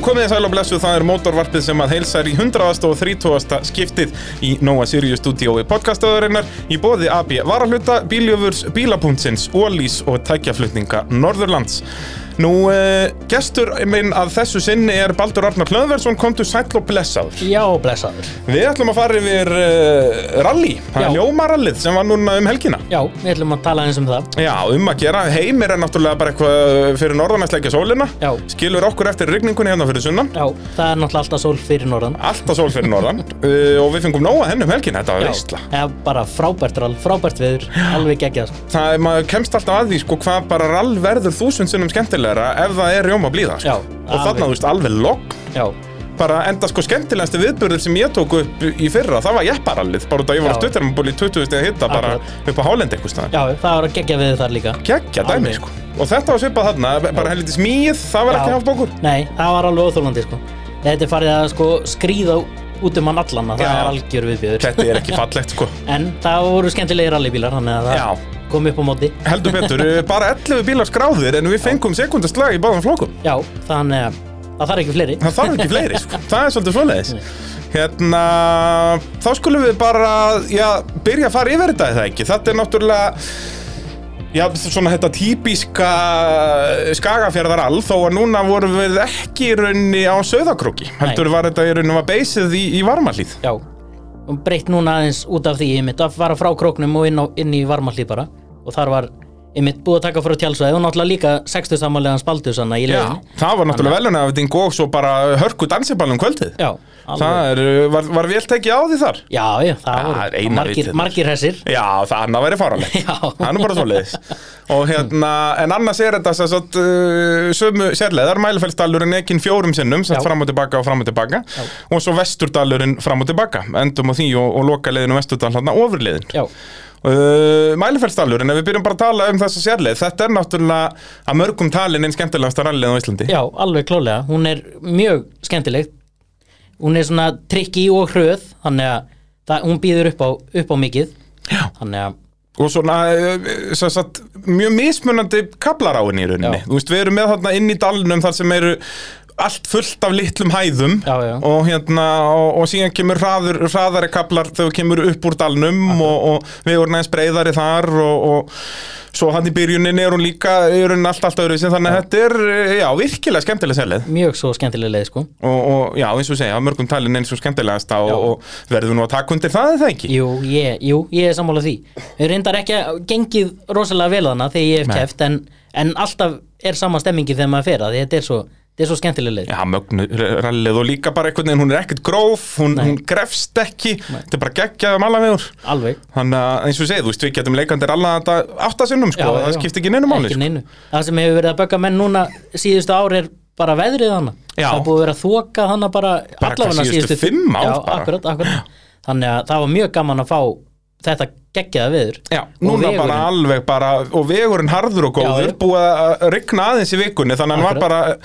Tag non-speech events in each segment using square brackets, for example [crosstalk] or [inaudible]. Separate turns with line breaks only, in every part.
komið þið sæl og blessuð, það er mótorvarpið sem að heilsar í 100. og 30. skiptið í Nóa Sirius stúdíói podcastöðurinnar í bóði AB Varahluta, Bíljöfurs, Bílapúntsins, Ólís og tækjaflutninga Norðurlands. Nú, eh, gestur minn að þessu sinni er Baldur Arnar Hlöðversson, komdu sæll og blessaður.
Já, blessaður.
Við ætlum að fara yfir uh, rally, það er
Já.
ljómarallið sem var núna um helgina.
Já, við ætlum að tala eins um það.
Já, um að gera. Heimir er náttúrulega bara eitthvað fyrir norðan að slækja sólina.
Já.
Skilur okkur eftir rigningunni hérna fyrir sunnan.
Já, það er náttúrulega alltaf sól fyrir norðan.
Alltaf sól fyrir norðan. uh, og við fengum nóga henni um helgin, þetta var
Já,
veistla.
Já, bara frábært rall, frábært viður, alveg geggjað. sko.
Það er, maður kemst alltaf að því, sko, hvað bara rall verður þúsund sinnum skemmtilegra ef það er rjóma blíða, sko.
Já,
Og þarna, þú veist, alveg logg.
Já,
Bara enda, sko, skemmtilegasti viðburður sem ég tók upp í fyrra, það var jepparallið, bara út að ég var
Já.
stuttir um í 20 stið að hitta bara
Akkurat.
upp á hálendi eitthvað staðar.
já, það var að gegja viður þar líka.
Gekkja dæmi,
Alveg.
sko. Og þetta var svipað þarna, bara helviti smíð, það var
Já.
ekki haft bókur.
Nei, það var alveg óþólandi, sko. Þetta er farið að sko skríða út um hann allan, að það
Já.
er algjör viðbjöður.
Þetta er ekki fallegt,
[laughs]
sko.
En það voru skemmtilegir rallybílar, þannig að það
Já.
kom upp á móti.
Heldur betur, eh, bara 11 bílar skráðir en við fengum sekundaslag í báðum flokkum.
Já, þannig að það þarf ekki fleiri.
Það þarf ekki fleiri, sko. það er svolítið svoleiðis. Hérna, þá skulum við bara, já, byrja að fara yfir þetta eða ekki. Þetta er náttúrulega, já, svona þetta típiska skagafjörðarall, þó að núna vorum við ekki í raunni á Söðakrúki. Heldur var þetta í raunni var beysið í, í varmalíð.
Já, og breytt núna aðeins út af því einmitt að fara frá króknum og inn, á, inn í varmallí bara og þar var einmitt búið að taka frá tjálsvæði og náttúrulega líka 60 samanlegan spaldu sann í
Já,
leiðin
það var náttúrulega velunafting og svo bara hörku dansiballum kvöldið.
Já, alveg
Það er, var, var vel tekið á því þar?
Já, já, það
Það er
voru
eina vitið
margir,
þar.
margir
[laughs]
hessir
Já, það annað væri faranlegt
[laughs] Já.
Það er nú bara svoleiðis Og hérna, en annars er þetta sem sagt uh, sömu sérleðar, mælifælsdalurinn ekinn fjórum sinnum, sem sagt
Já.
fram og tilbaka og fram og tilbaka og svo vesturdalurinn fram og tilbaka endum á því og, og loka leiðin og vesturdal hérna ofurleiðin
Já,
uh, Mælifælsdalurinn, ef við byrjum bara að tala um þessa sérleð þetta er náttúrulega að mörgum talin einn skemmtilegasta rallið á Íslandi
já, alveg klálega Hún er mjög skemmtileg Hún er svona trikki og hröð þannig að það, hún býður upp á, upp á mikið Já Þannig að,
og svona eh, sem sagt, mjög mismunandi kaplar á henni í rauninni
Já.
þú veist, við erum með þarna inn í dalnum þar sem eru allt fullt af litlum hæðum
Já, já.
og hérna og, og síðan kemur hraður, hraðari kaplar þegar kemur upp úr dalnum og, og við vorum aðeins breyðari þar og, og svo hann í byrjuninni er hún líka er hún allt allt öðru þannig að þetta er, eh, já, virkilega skemmtileg selið
mjög svo skemmtileg leið sko
og, og já, eins og segja, á mörgum talin eins og skemmtilegasta
Já.
og, og verðum nú að taka undir það eða ekki
Jú, ég, jú, ég er sammála því Við reyndar ekki að gengið rosalega vel þarna þegar ég hef
Nei.
kæft en, en alltaf er sama stemmingi þegar maður fer að því þetta er svo, þetta er svo skemmtileg leið
Já, mögnu rallið og líka bara einhvern veginn, hún er ekkert gróf, hún,
Nei.
hún grefst ekki, þetta er bara geggjaðum allavegður.
Alveg
Þannig að eins og við segið, þú veist, við getum leikandi alla þetta áttasinnum, sko, það skiptir ekki neinu máli.
Ekki
Sko.
neinu Það sem hefur verið að bögga menn núna síðustu ár er bara veðrið hana
Já.
Það er búið að vera að þoka hana bara,
Bara
allavega
hvað, síðustu fimm ár
Já,
bara?
akkurat, akkurat Þannig að það var mjög gaman að fá þetta geggjaða veður
Já,
Og
núna
vegurinn.
bara alveg bara, og vegurinn harður og góður,
Já, já.
búið að rigna aðeins í vikunni, þannig að hann var bara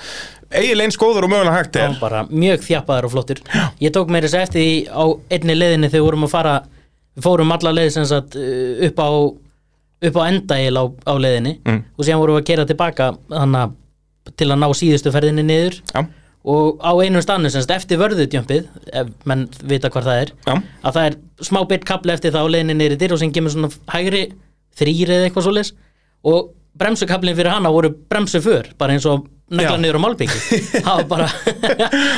eiginlega eins góður og mögulega hægt
Það
er.
var bara mjög þjappaðar og flottur Ég tók meira þess að eftir því á einni leiðinni þegar við vorum að fara Við fórum alla leið sem sagt uh, upp á upp á endail á, á leiðinni og síðan vorum við að kera tilbaka hana, til að ná síðustu ferðinni niður
Já,
og á einum stannu sem sagt eftir vörðutjömpið ef menn vita hvað það er
Já.
að það er smá bit kapli eftir það á leiðinni niður í dyr og sem kemur svona hægri þrýri eða eitthvað svoleiðis og bremsukaplin fyrir hana voru bremsu för bara eins og negla
Já.
niður á malbyggi það var bara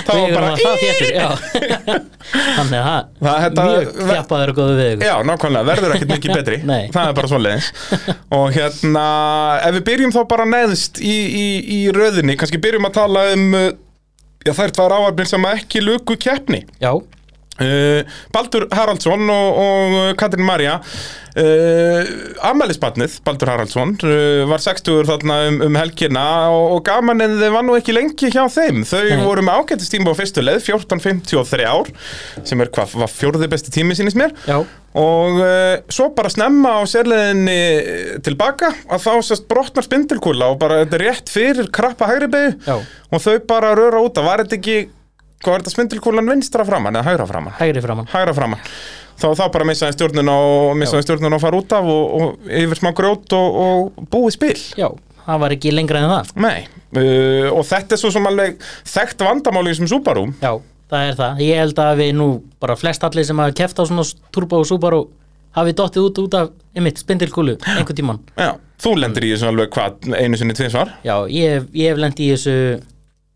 var
vegurinn
bara-
það þéttur já. þannig að
Það-
það
þetta-
mjög þjappaður og góðu vegur
Já, nákvæmlega, verður ekkert mikið betri
[laughs] Nei.
Það er bara svoleiðis Og hérna, ef við byrjum þá bara neðst í, í, í röðinni Kannski byrjum að tala um uh, Já, þær tvær áarnir sem að ekki luku keppni
já,
uh, Baldur Haraldsson og, og Katrin Marja uh, Amælisbarnið, Baldur Haraldsson uh, Var 60 þarna um, um helgina og, og gaman en þið var nú ekki lengi hjá þeim Þau
Nei.
voru með ágættist tíma á fyrstu leið 14.53 ár Sem er hvað, var fjórði besti tími sínist mér
já,
Og uh, svo bara snemma á sérleðinni tilbaka að þá sérst brotnar spindilkúla og bara þetta er rétt fyrir krappa hægri beigju
Já.
og þau bara röra út að var þetta ekki, hvað var þetta spindilkúlan vinstra framann eða hægra framann?
hægri framann
Hægra framann. Þá, þá bara missaði stjórnuna og missaði stjórnuna og fara út af og, og yfir smá grjót og, og búið spil.
já, það var ekki lengra en það
Nei, uh, og þetta er svo sem alveg þekkt vandamáli sem Subaru
Já, það er það, ég held að við nú bara flest allir sem hafa keft á svona Turbo og Subaru hafi dottið út út af einmitt spindilkúlu, einhvern tímann
Já, þú lendir í þessu alveg hvað einu sinni tvisvar
Já, ég, hef- ég hef lendi í þessu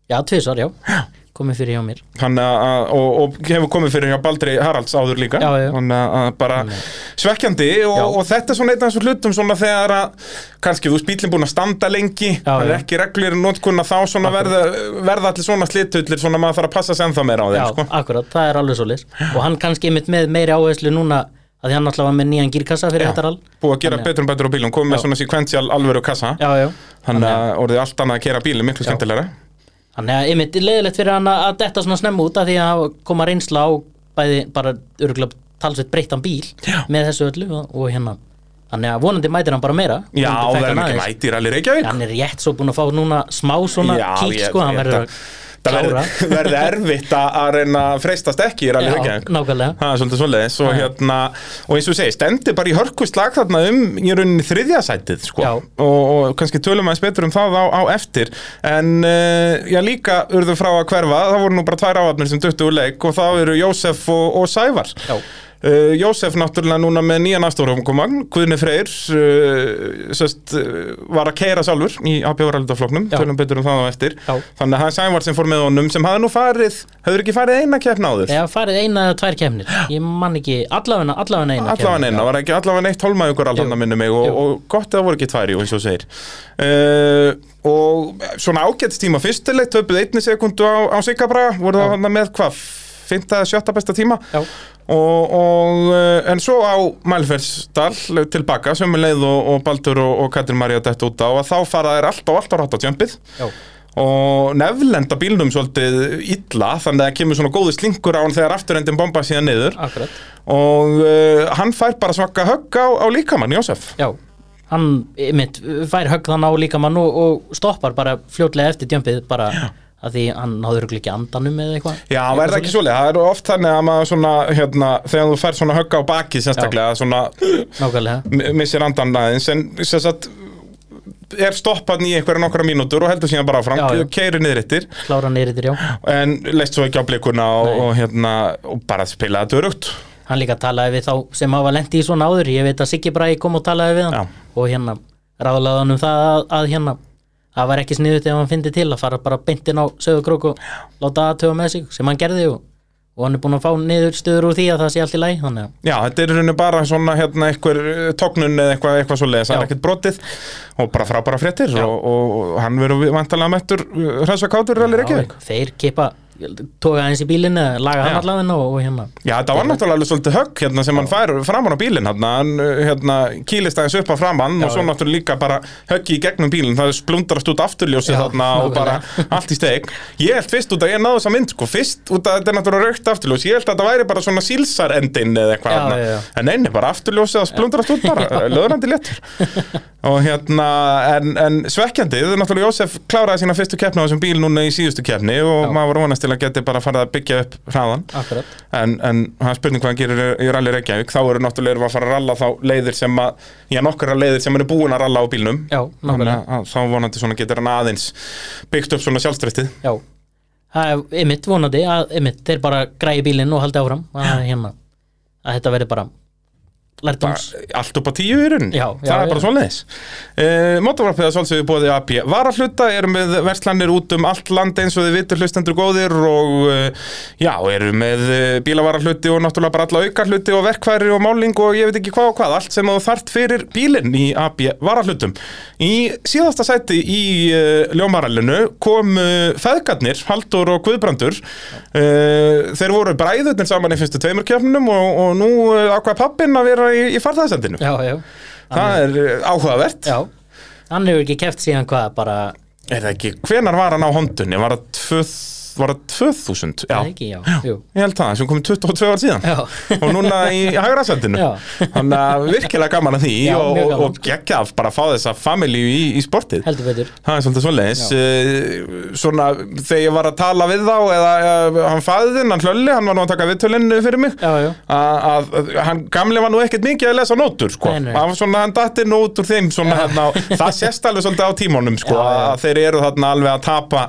já, tvisvar, já, komið fyrir hjá mér
Hann, uh, og, og hefur komið fyrir hjá Baldri Haralds áður líka
Já, já.
Hann, uh, bara svekkjandi
Já.
og, og þetta er svona einn af þessum hlutum svona þegar að kannski þú spýtlinn búin að standa lengi
Já,
hann er
já.
ekki reglir notkunna þá svona verða, verða allir svona slitullir svona maður þarf að passa sem það meira á
Já,
þeim sko.
akkurat, það er alveg svoleiðis og hann kannski einmitt með meiri áherslu núna að því hann alltaf var með nýjan gírkassa fyrir þetta all
búið að gera betur en betur á bílum komið með
Já.
svona sequential alvöru kassa
Já, já,
hann uh, orðið allt annað að kera bílum miklu skemmtilegra
þannig að einmitt leiðilegt fyrir hann að að detta svona snemma út af því að hafa- koma reynsla á bæði bara örgulega talsveit breyttan bíl
Já.
með þessu öllu og, og hérna þannig að vonandi mætir hann bara meira
Já,
Vonandi
það er
fækkar
ekki
aðeins.
mætir alveg Reykjavík
Hann er rétt svo búin að fá núna smá svona kík sko, hann verður að
Það
klára.
verður- [laughs] verður erfitt að að reyna að freistast ekki í alveg
Já,
Reykjavík
nákvæmlega
Það er svolítið svoleiðis og,
Já.
hérna, og eins og ég segi, stendur bara í hörku slag þarna um í rauninni þriðja sætið sko.
Já.
og, og kannski tölum aðeins betur um það á, á eftir en uh, já líka urðu frá að hverfa það voru nú bara tvær áhafnir sem duttu úr leik og það eru Jósef og, og Sævar
Já.
Uh, Jósef náttúrulega núna með nýjan afstofrumkomann, Guðni Freyr uh, sest, uh, var að keira sjálfur í APO-rælutafloknum,
Já.
tölum betur um það á eftir
Já.
þannig að það er Sævar sem fór með honum sem hafði nú farið, hafði ekki farið eina keppna áður
Já, farið eina eða tvær kemnir Ég man ekki, allavega, allavega eina
Allavega
keppni.
neina, var ekki allavega neitt hólmaðugur allan
Jú.
að minna mig og,
Jú.
og gott að það voru ekki tvær, jú, eins og þú segir uh, Og svona ágættstíma fyrstileg, töpuð einni sekundu á, á Sigabra, voru það
Já.
hann með hvað, fynda, sjötta besta tíma
Já,
og, og uh, en svo á Mælferðsdal tilbaka, sömu leið og, og Baldur og, og Katrin María dætt út á að þá fara þær allt og allt á rátt á tjömpið
já,
og nefnlenda bílnum svolítið illa þannig að það kemur svona góði slinkur á hann þegar afturendin bomba síðan niður
akkurat
og uh, hann fær bara svaka högg á, á líkamann, Jósef
Já, hann mitt fær högg þann á líkamann og, og stoppar bara fljótlega eftir djömpið bara að því hann náður örugglega ekki andanum eða eitthvað
Já, það er
Eitthvað
ekki svoleið, það er oft þannig að maður svona, hérna, þegar þú fær svona högg á baki sérstaklega, svona
svoleiðis. Nákvæmlega,
m- missir andan aðeins en sem sagt er stoppan í einhverja nokkra mínútur og heldur síðan bara áfram,
Já, já.
keirir niður yttir
klára hann yfir þér, já
en leist svo ekki á blikuna og,
Nei.
og, hérna, og bara spilaði þetta örugt
Hann líka talaði við þá sem hafa lendi í svona áður Ég veit að Siggi Bragi kom og talaði við hann
Já.
og hérna ráðlaði hann um það að, að hérna það var ekki sniðut ef hann fyndi til að fara bara beintin á sögurkrók og láta aðtöfa með sig sem hann gerði og, og hann er búin að fá niður stöður úr því að það sé allt í læg þannig að
Já, þetta er í rauninu bara svona hérna einhver eh, tognun eða eitthvað, eitthvað svo leiðis, það er
Já.
ekkert brotið og bara frábæra fréttir
Já.
og, og, og hann verður vantalega mættur eh, hressvakátur allir ekki
Já, þeir kippa tóka aðeins í bílinn eða laga
Já.
hann allavega og, og hérna
Já, þetta var náttúrulega alveg svolítið högg hérna sem hann fær framan á bílinn hérna, hann eh, hérna, kýlist aðeins upp að framan og svo
já.
náttúrulega líka bara höggi í gegnum bílinn það splundrast út afturljósið
Já,
þarna og bara
nákvæmlega.
allt í steg Ég held fyrst út að ég náðu þessa mynd sko, fyrst út að þetta er náttúrulega raukt afturljós ég held að þetta væri bara svona sílsarendin eða eitthvað
Já,
þarna.
já, já.
en neini, bara afturljósið að splundrast út
[laughs]
bara löðrandi léttur og hérna, en, en svekkjandi þetta er náttúrulega Jósef kláraði sína fyrstu keppni á þessum bíl núna í síðustu keppni og maður var vonast til að geti bara farið að byggja upp hraðan
akkurat
en, en það er spurning hvað hann gerir í rally Reykjavík þá eru náttúrulega erum við að fara að ralla þá leiðir sem að já nokkara leiðir sem eru búin að ralla á bílnum
Já, nákvæmlega
að, að þá vonandi svona getur hann aðeins byggt upp svona sjálfstreytið
Já, það er ymmit vonandi að ymmit, þeir bara græði bílinn og haldi áfram að hérna, að þetta verði bara lærdoms
allt upp á tíu í raun
Já,
það
já,
er bara
já.
svoleiðis uh, Motorvarpið að svolsögðu bóði AP Varafluta erum við verslanir út um allt land eins og þið vitur hlustendur góðir og uh, já, erum með uh, bílavarafluti og náttúrulega bara alla aukarhluti og verkfæri og máling og ég veit ekki hvað og hvað allt sem þú þart fyrir bílinn í AP Varaflutum Í síðasta sæti í uh, ljómarælinu kom uh, feðgarnir, Haldur og Guðbrandur uh, Þeir voru bræðurnir saman í fyrstu tveimur kjöfnum og, og nú uh, ákvað pappinn að vera í, í farþæðsendinu
Já, já,
Það er uh, áhugavert
já Hann hefur ekki keft síðan hvað bara
Er það ekki, hvenar var hann á hondunni? Var það var það 2000?
Það
Já,
ekki, já, jú
ég held það, sem komið 22 ár síðan
Já,
[laughs]
[laughs]
og núna í hagrasættinu
Já.
þannig að virkilega gaman að því
Já,
og,
mjög
og,
gaman,
og geggja að bara fá þessa familju í, í sportið
heldur betur
Það er svolítið svoleiðis Eh, Svona þegar ég var að tala við þá eða eh, hann faðinn, hann hlölli hann var nú að taka viðtölinn fyrir mig
Já, já,
að, að, að hann gamli var nú ekkert mikið að lesa nótur sko.
Nei, nei.
hann var svona, hann datti nót úr þeim svona, hérna, á- það sést alveg svolítið á tímónum sko,
Já, já.
að þeir eru þarna alveg að tapa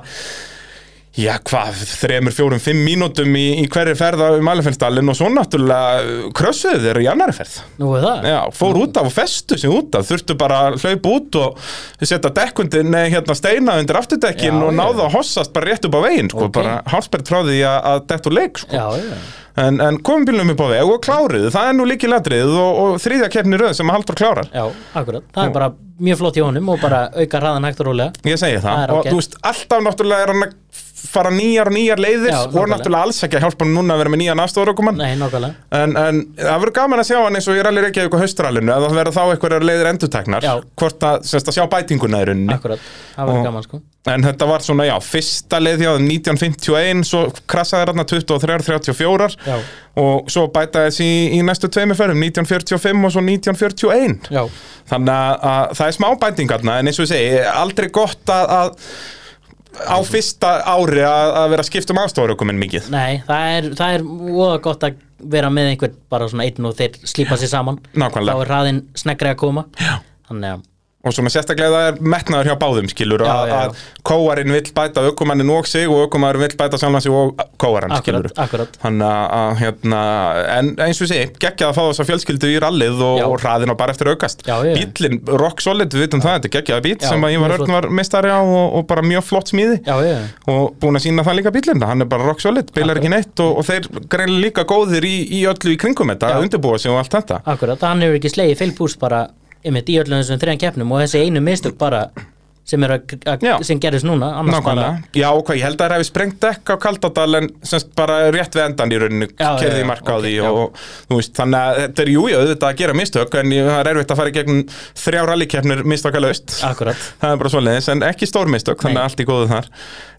já hvað, þremur, fjórum, fimm mínútum í, í hverri ferð um Alfinnstallin og svo náttúrulega krössuðu þeir í annari ferð
nú er það
já, fór út af og festu sig út af þurftu bara að hlaupa út og setja dekkundin, nei, hérna steina undir afturdekkin
Já,
og
já.
náðu að hossast bara rétt upp á veginn sko,
Ok.
bara hálsbært frá því að, að detta úr leik sko.
Já, já,
En, en komum bílnum upp á veg og kláriðu, það er nú líki ladriðið og, og þriðja keppni í röð sem Halldór klárar.
já, akkurat Það er bara mjög flott í honum og bara auka hraðan hægt og rólega
Ég segi það.
Það er
Og
ágætt.
þú veist, alltaf náttúrulega er hann að fara nýjar og nýjar leiðir
Já,
og
nákvæmlega.
náttúrulega alls ekki að hjálpa hann núna að vera með nýjan afstofurökumann.
Nei, nákvæmlega
En, en það verður gaman að sjá hann eins og ég rallir ekki eitthvað haustralinu að það verður þá eitthvað leiðir endurteknar.
Já.
Hvort að, semst að sjá bætinguna í rauninni.
Akkurat, það var
Og-
gaman sko
En þetta var svona, já, fyrsta leið hjá þeim 1951, svo krassaði þarna 23-34
Já.
og svo bætaði þessi í, í næstu tveimur förum, 1945 og svo 1941.
Já,
Þannig að, að það er smá bætingarna en eins og ég segi, aldrei gott að, að á fyrsta ári að, að vera að skipta um afstofarökuminn mikið.
nei, það er, það er voða gott að vera með einhvern bara svona einn og þeir slípa sér saman
Nákvæmlega.
Þá er hraðin sneggri að koma Já Þannig að,
Og svona sérstaklega það er metnaður hjá báðum skilur
Já,
að,
já, já.
að kóarinn vill bæta ökumannin og sig og ökumanninn vill bæta sjálfan sig og kóarinn skilur.
akkurat, akkurat
Þannig að, að, hérna, en eins og ég segi, geggjað að fá þessa fjölskyldu í rallið og,
Já.
og hraðin á bara eftir að aukast.
Já, já.
Bíllinn, rock solid, við vitum það, þetta er geggjaða bíll
Já,
sem að Ívar
mjög flott.
Örn var mistari á og, og bara mjög flott smíði.
Já, já, já
og búin að sína það líka bílinda hann er bara rock solid, bilar ekki neitt og, og þeir greinlega líka góðir í, í öllu í kringum þetta,
Já.
að undirbúa sig og allt þetta
Akkurat, hann hefur ekki slegið fylgbúst bara einmitt í öllum þessum þrejum keppnum og þessi einu mistök bara sem, er að, að,
Já.
sem gerist núna annars bara,
Nákvæmlega, já og hvað, ég held að það hefði sprengt dekk á Kaldadal en semst bara rétt við endan í rauninu
Já, já,
kerði
já,
marka á
ok,
því
já.
og þú veist, þannig að þetta er júja auðvitað að gera mistök en ég- það er erfitt að fara í gegnum þrjá rallikeppnir mistökalaust
akkurat
[laughs] það er bara svoleiðis, en ekki stór mistök þannig
Nei.
að allt í góðu þar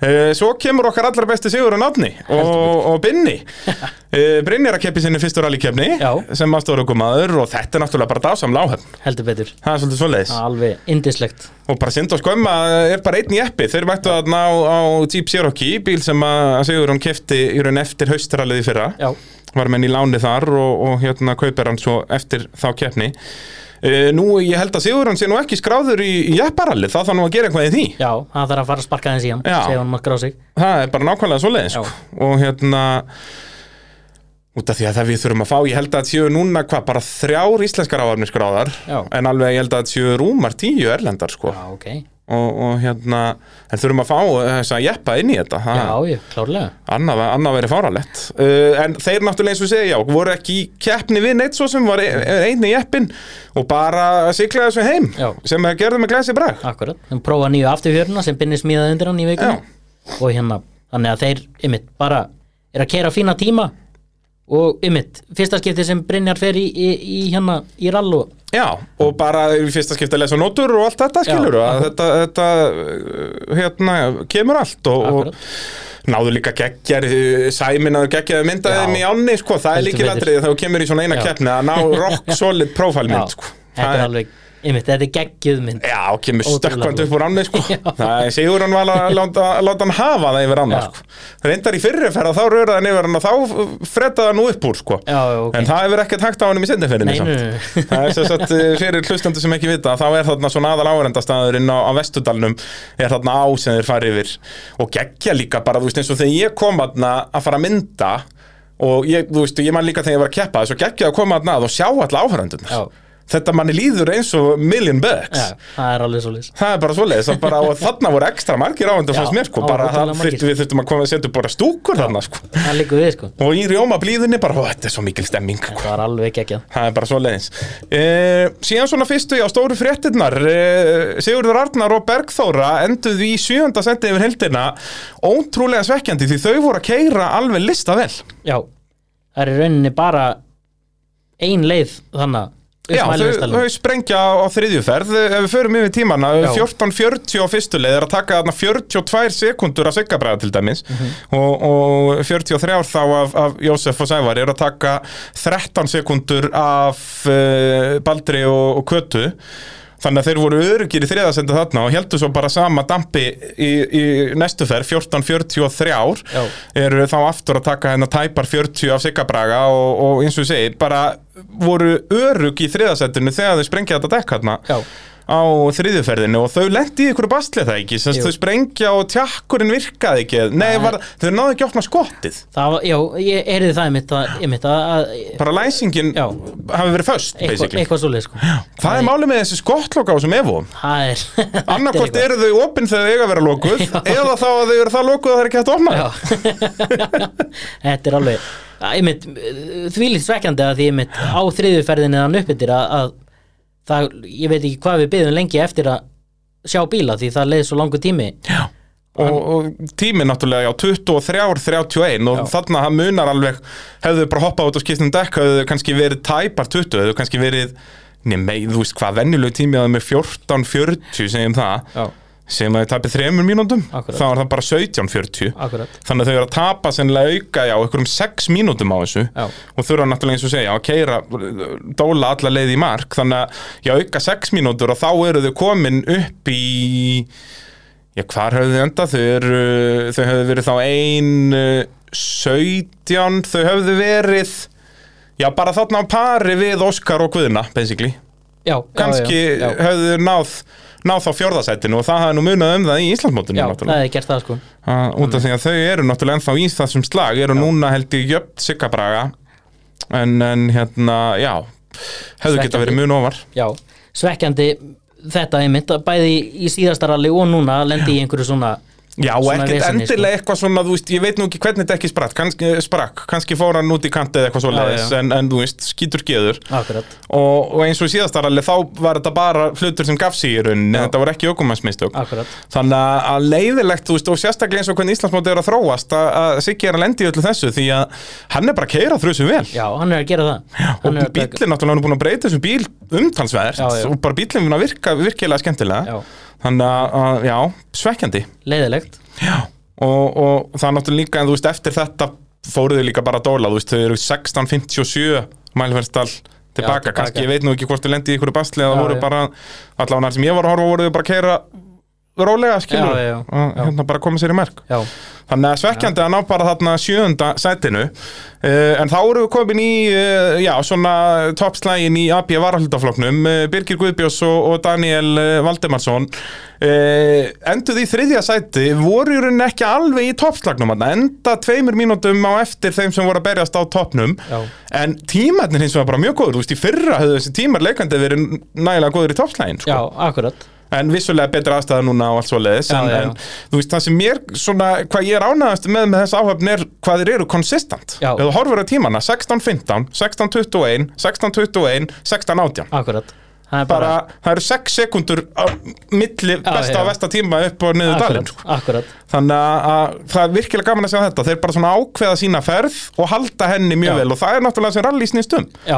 Eh, svo kemur okkar allra besti Sigurinn Átni og, og Binni
[laughs]
Eh, Brynjar að keppi sinni fyrstu rallykefni
Já.
sem aðstóra okkur maður og þetta er náttúrulega bara dásamla áhöfn
heldur betur,
það er svolítið svoleiðis
alveg indislegt
og bara synd og skömm að er bara einn í eppi þeir mættu þarna á, á Jeep Cherokee bíl sem að Sigurinn kefti í raun eftir haustrallið í fyrra
Já,
var menn í láni þar og, og hérna kaupir hann svo eftir þá keppni Uh, nú, ég held að Sigurðan sé nú ekki skráður í, í jepparallið, það þarf nú að gera eitthvað í því.
já, hann þarf að fara að sparka þess í hann
Já.
segja hann maður grá sig
Það er bara nákvæmlega svoleiðis
Já.
sko. og hérna út af því að það við þurfum að fá ég held að séu núna hvað bara þrjár íslenskar áhafnir skráðar
Já.
en alveg ég held að séu rúmar tíu erlendar sko.
Já, ok,
og, og hérna en þurfum að fá þess að jeppa inn í þetta ha.
já, já, klárlega
annað, annað verið fáralett uh, en þeir náttúrulega eins og segja já voru ekki í keppni við neitt svo sem var e- einni jeppin og bara siglaði þessu heim
Já.
sem að gerðu með glæsi brag
Akkurat, þeim prófa nýju afturfjöruna sem Binni smíðaði undir hann í vikunni og hérna, þannig að þeir ymmit bara er að kera fína tíma og ymmit, fyrsta skipti sem Brynjar fer í, í, í hérna í rall og
Já, og bara í fyrsta skipta að lesa nótur og allt þetta
Já,
skilur að
akkurat.
þetta, þetta uh, hérna, kemur allt og,
Akkurat.
og náðu líka geggjar uh, sæminaður geggjaðu myndaðum í
Já.
ánni sko, það er
Heldur
líki
betur.
ladrið þegar þú kemur í svona eina
Já.
keppni að ná rock
[laughs]
solid profile mynd sko.
þetta
Það
er alveg, ymmit, þetta er geggjuð mynd
Já, kemur
Ótrúlega
stökkvand
flott.
upp úr ánni sko.
[laughs] Já.
það er sigur hann var að láta, láta hann hafa það yfir
Já.
annar sko. reyndar í fyrri ferð að þá röraði hann yfir hann og þá frettaði hann nú upp úr sko.
Já, já, ok.
en það hefur ekkert hægt á hann í sendin fyrir
Nei, nei, nei.
það er sem sagt eh, fyrir hlustandi sem ekki vita þá er þarna svona aðal áhverendastæðurinn á, á Vestudalnum er þarna á sem þeir fara yfir og geggja líka bara þú veist eins og þegar ég kom þarna að fara að mynda og ég, þú veist, ég man líka þegar ég var að keppa þess og geggja að koma þarna að og sjá alla áhverendunir
Já.
þetta manni líður eins og million bucks
Já, það er alveg svo lýs
Það er bara svoleiðis, að bara,
[laughs]
og þarna voru ekstra margir áhendur
Já,
fannst mér, sko,
það
bara
voru
það
ótrúlega margir.
þurftum við þurftum að koma að setja upp bara stúkur þarna, sko,
Það liggur við sko
og í rjóma blíðunni bara, ó, þetta er svo mikil stemming, sko.
Það er alveg geggjað
Það er bara svo leiðins Síðan svona fyrstu á stóru fréttinnar e, Sigurður Arnar og Bergþóra enduðu í sjöunda sendi yfir heldina Ótrúlega svekkjandi því þau voru að keira alveg lista vel
Já, það er í rauninni bara ein leið þannig
Já, þau,
mælivistalinn.
þau sprengja á þriðjuferð Ef við förum yfir tímana,
Já.
14.40 á fyrstu leið er að taka þarna 42 sekundur af Sigabræða til dæmis og, og 43 þá af, af Jósef og Sævar er að taka 13 sekundur af uh, Baldri og, og Kötu Þannig að þeir voru örugir í þriðasenda þarna og heldur svo bara sama dampi í, í næstu ferð, 14.43
Já.
eru þá aftur að taka hennar tæpar 40 af Siggabraga og, og eins og ég segi, bara voru örug í þriðasettinu þegar þau sprengja þetta dekk hérna
Já.
á þriðuferðinu og þau lendi í ykkur basli það ekki, sem sagt,
Jú.
þau sprengja og tjakkurinn virkaði ekki, nei, var, þau náðu ekki að opna skottið,
Það var, já, ég erði það einmitt að, einmitt að, að
bara læsingin
Já.
hafi verið föst,
eitthvað,
basically
eitthvað svoleið sko.
Það er málið með þessi skottlokk á þessum evum
Það er þetta er
Annarkvort
eitthvað.
eru þau opinn þegar þau eiga að vera lokuð
[laughs] Já.
eða þá að þau eru það lokuð að það er ekki hægt að opna
Já. [laughs] Þetta er alveg að einmitt, þvílíkt svekkjandi að því einmitt á þriðju ferðinni þann uppbyttir að, að það, ég veit ekki hvað við byggðum lengi eftir að sjá bíla því það leið svo langur tími Já,
og, og tíminn náttúrulega, já, 23, 31 og
Já.
þarna hann munar alveg hefðu þau bara hoppað út og skipt um dekk hefðu þau kannski verið tæpar 20 hefðu þau kannski verið, nema, þú veist hvað venjulegu tími að það með 14, 40 segjum það,
Já.
sem að þau tapir 3 mínúndum,
Akkurat.
þá er það bara 17, 40
akkurat
þannig að þau eru að tapa sennilega auka já, einhverjum 6 mínútum á þessu
Já.
og þurfa náttúrulega eins og segja að keira dóla alla leið í mark þannig að já, auka 6 mínútur og þá eru þau komin upp í já, hvar höfðu þau enda þau, eru, þau höfðu verið þá 1 17 þau höfðu verið já, bara þarna á pari við Óskar og Guðna, basically
Já,
kannski
já, já, já.
höfðu þau náð náð þá fjórðasættinu og það hafði nú munað um það í Íslandsmótinu
Já,
náttúrulega.
það hefði gert það sko
Uh, út af því að þau eru náttúrulega ennþá í þessum slag eru núna held ég jöfn siggabraga en, en hérna, já hefðu geta
Svekkjandi.
verið mun ofar
Já, svekkjandi þetta einmitt að bæði í, í síðastaralli og núna að lendi í einhverju svona
Já, og
Svona
ekkert
vesenni, sko.
endilega eitthvað svona, þú veist, ég veit nú ekki hvernig þetta ekki sprakk, kannski, eh, sprakk, kannski fór hann út í kanti eða eitthvað svo
Já, já.
en, en þú veist, skýtur geður
Akkurat,
og, og eins og síðastaralli þá var þetta bara hlutur sem gaf sig í rauninni,
Já.
þetta voru ekki ökumannsmistök
akkurat
Þannig að- að leiðilegt, þú veist, og sérstaklega eins og hvernig Íslandsmóti er að þróast að, að Siggi er að lendi í öllu þessu því að hann er bara að keira þrjusum vel
Já, hann er að gera það
og
Hann er að taka-
bíllinn náttúrulega hann er búin að breyta þessum bíl umtalsverð
Já, já.
og bara bíllinn búin að virka virkilega skemmtilega
Já.
þannig að, að, já, svekkjandi
Leiðilegt
já. Og, og það er náttúrulega líka en þú veist, eftir þetta fóruðu líka bara að dóla þú veist, þau eru 16.57 mælverðstall tilbaka,
tilbaka.
kannski, ég veit nú ekki hvort þau lendi í ykkur basli eða
Já,
voru
já.
bara, allavega þar sem ég var að horfa voru þau bara að keira rólega skilur
Já, já, já.
og hérna bara koma sér í merk
Já,
Þannig að svekkjandi að ná bara þarna sjöunda sætinu uh, En þá eru við komin í, uh, já, svona toppslægin í AB varahaldafloknum uh, Birgir Guðbjós og, og Daniel uh, Valdemarsson uh, Enduð í þriðja sæti, voru í rauninni ekki alveg í toppslagnum þarna, Enda tveimur mínútum á eftir þeim sem voru að berjast á toppnum
Já.
En tímarnir hins vegar bara mjög góður, þú veist, í fyrra höfðu þessi tímar leikandi verið nægilega góður í toppslægin sko.
já, akkurat
En vissulega betra aðstæða núna og allt svo leiðis
Já,
en,
já, já.
en þú veist það sem mér svona, hvað ég er ánægast með með þess áhöfn er hvað þeir eru konsistant
Já.
Ef þú horfur á tímana 16.15, 16.21, 16.21, 16.18
Akkurat Það er
bara það eru 6 sekundur á milli besta
já.
og versta tíma upp og niður dalinn
akkurat,
sko.
akkurat
þannig að, að það er virkilega gaman að sjá þetta þeir bara svona ákveða sína ferð og halda henni mjög
Já.
vel og það er náttúrulega sem rally snýst um
Já,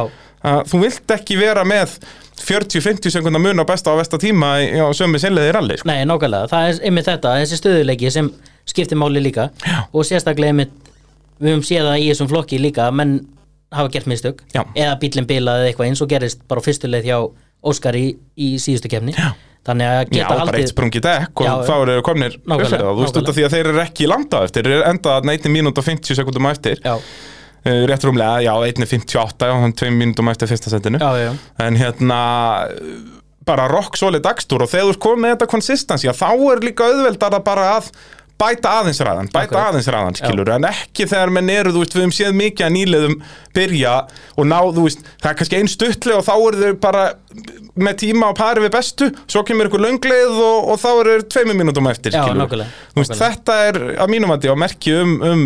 að þú vilt ekki vera með 40-50 sekundar mun á besta og versta tíma í- á sömu sinnlega í rally sko.
nei, nákvæmlega Það er einmitt þetta, þessi stöðuleiki sem skiptir máli líka já. og sérstaklega einmitt við höfum séð það í þessum flokki líka að menn hafa gert mistök
Já.
eða bíllinn bilað eða eitthvað eins og gerist bara á fyrstu leið hjá Óskar í, í síðustu kefni já. Þannig að
Já,
geta
og bara eitt
haldið
sprungið dekk og
Já,
þá eru þeir komnir
Nákvæmlega,
uppfyrir það, þú veist út af því að þeir eru ekki landa á eftir, þeir eru endað 1 mínúti og 50 sekundum á eftir,
Já,
uh, rétt rúmlega, já, 1.58 og hann 2 mínútum á eftir fyrsta setinu,
já, já,
en hérna uh, bara rock solid dagstur og þegar þú ert komið með þetta konsistansi, þá er líka auðveldar að bara að bæta aðeins ræðan, bæta
Akkurat.
aðeins ræðan, skilur, en ekki þegar menn eru, þú veist, við höfum séð mikið að nýliðum byrja og ná, þú veist, það er kannski einn stuttli og þá eru þau bara með tíma á pari við bestu, svo kemur ykkur löngleið og, og þá eru þeir tveimur mínútum eftir,
Já,
skilur.
nákvæmlega.
Þú Þú veist, þetta er að mínum að því á merki um, um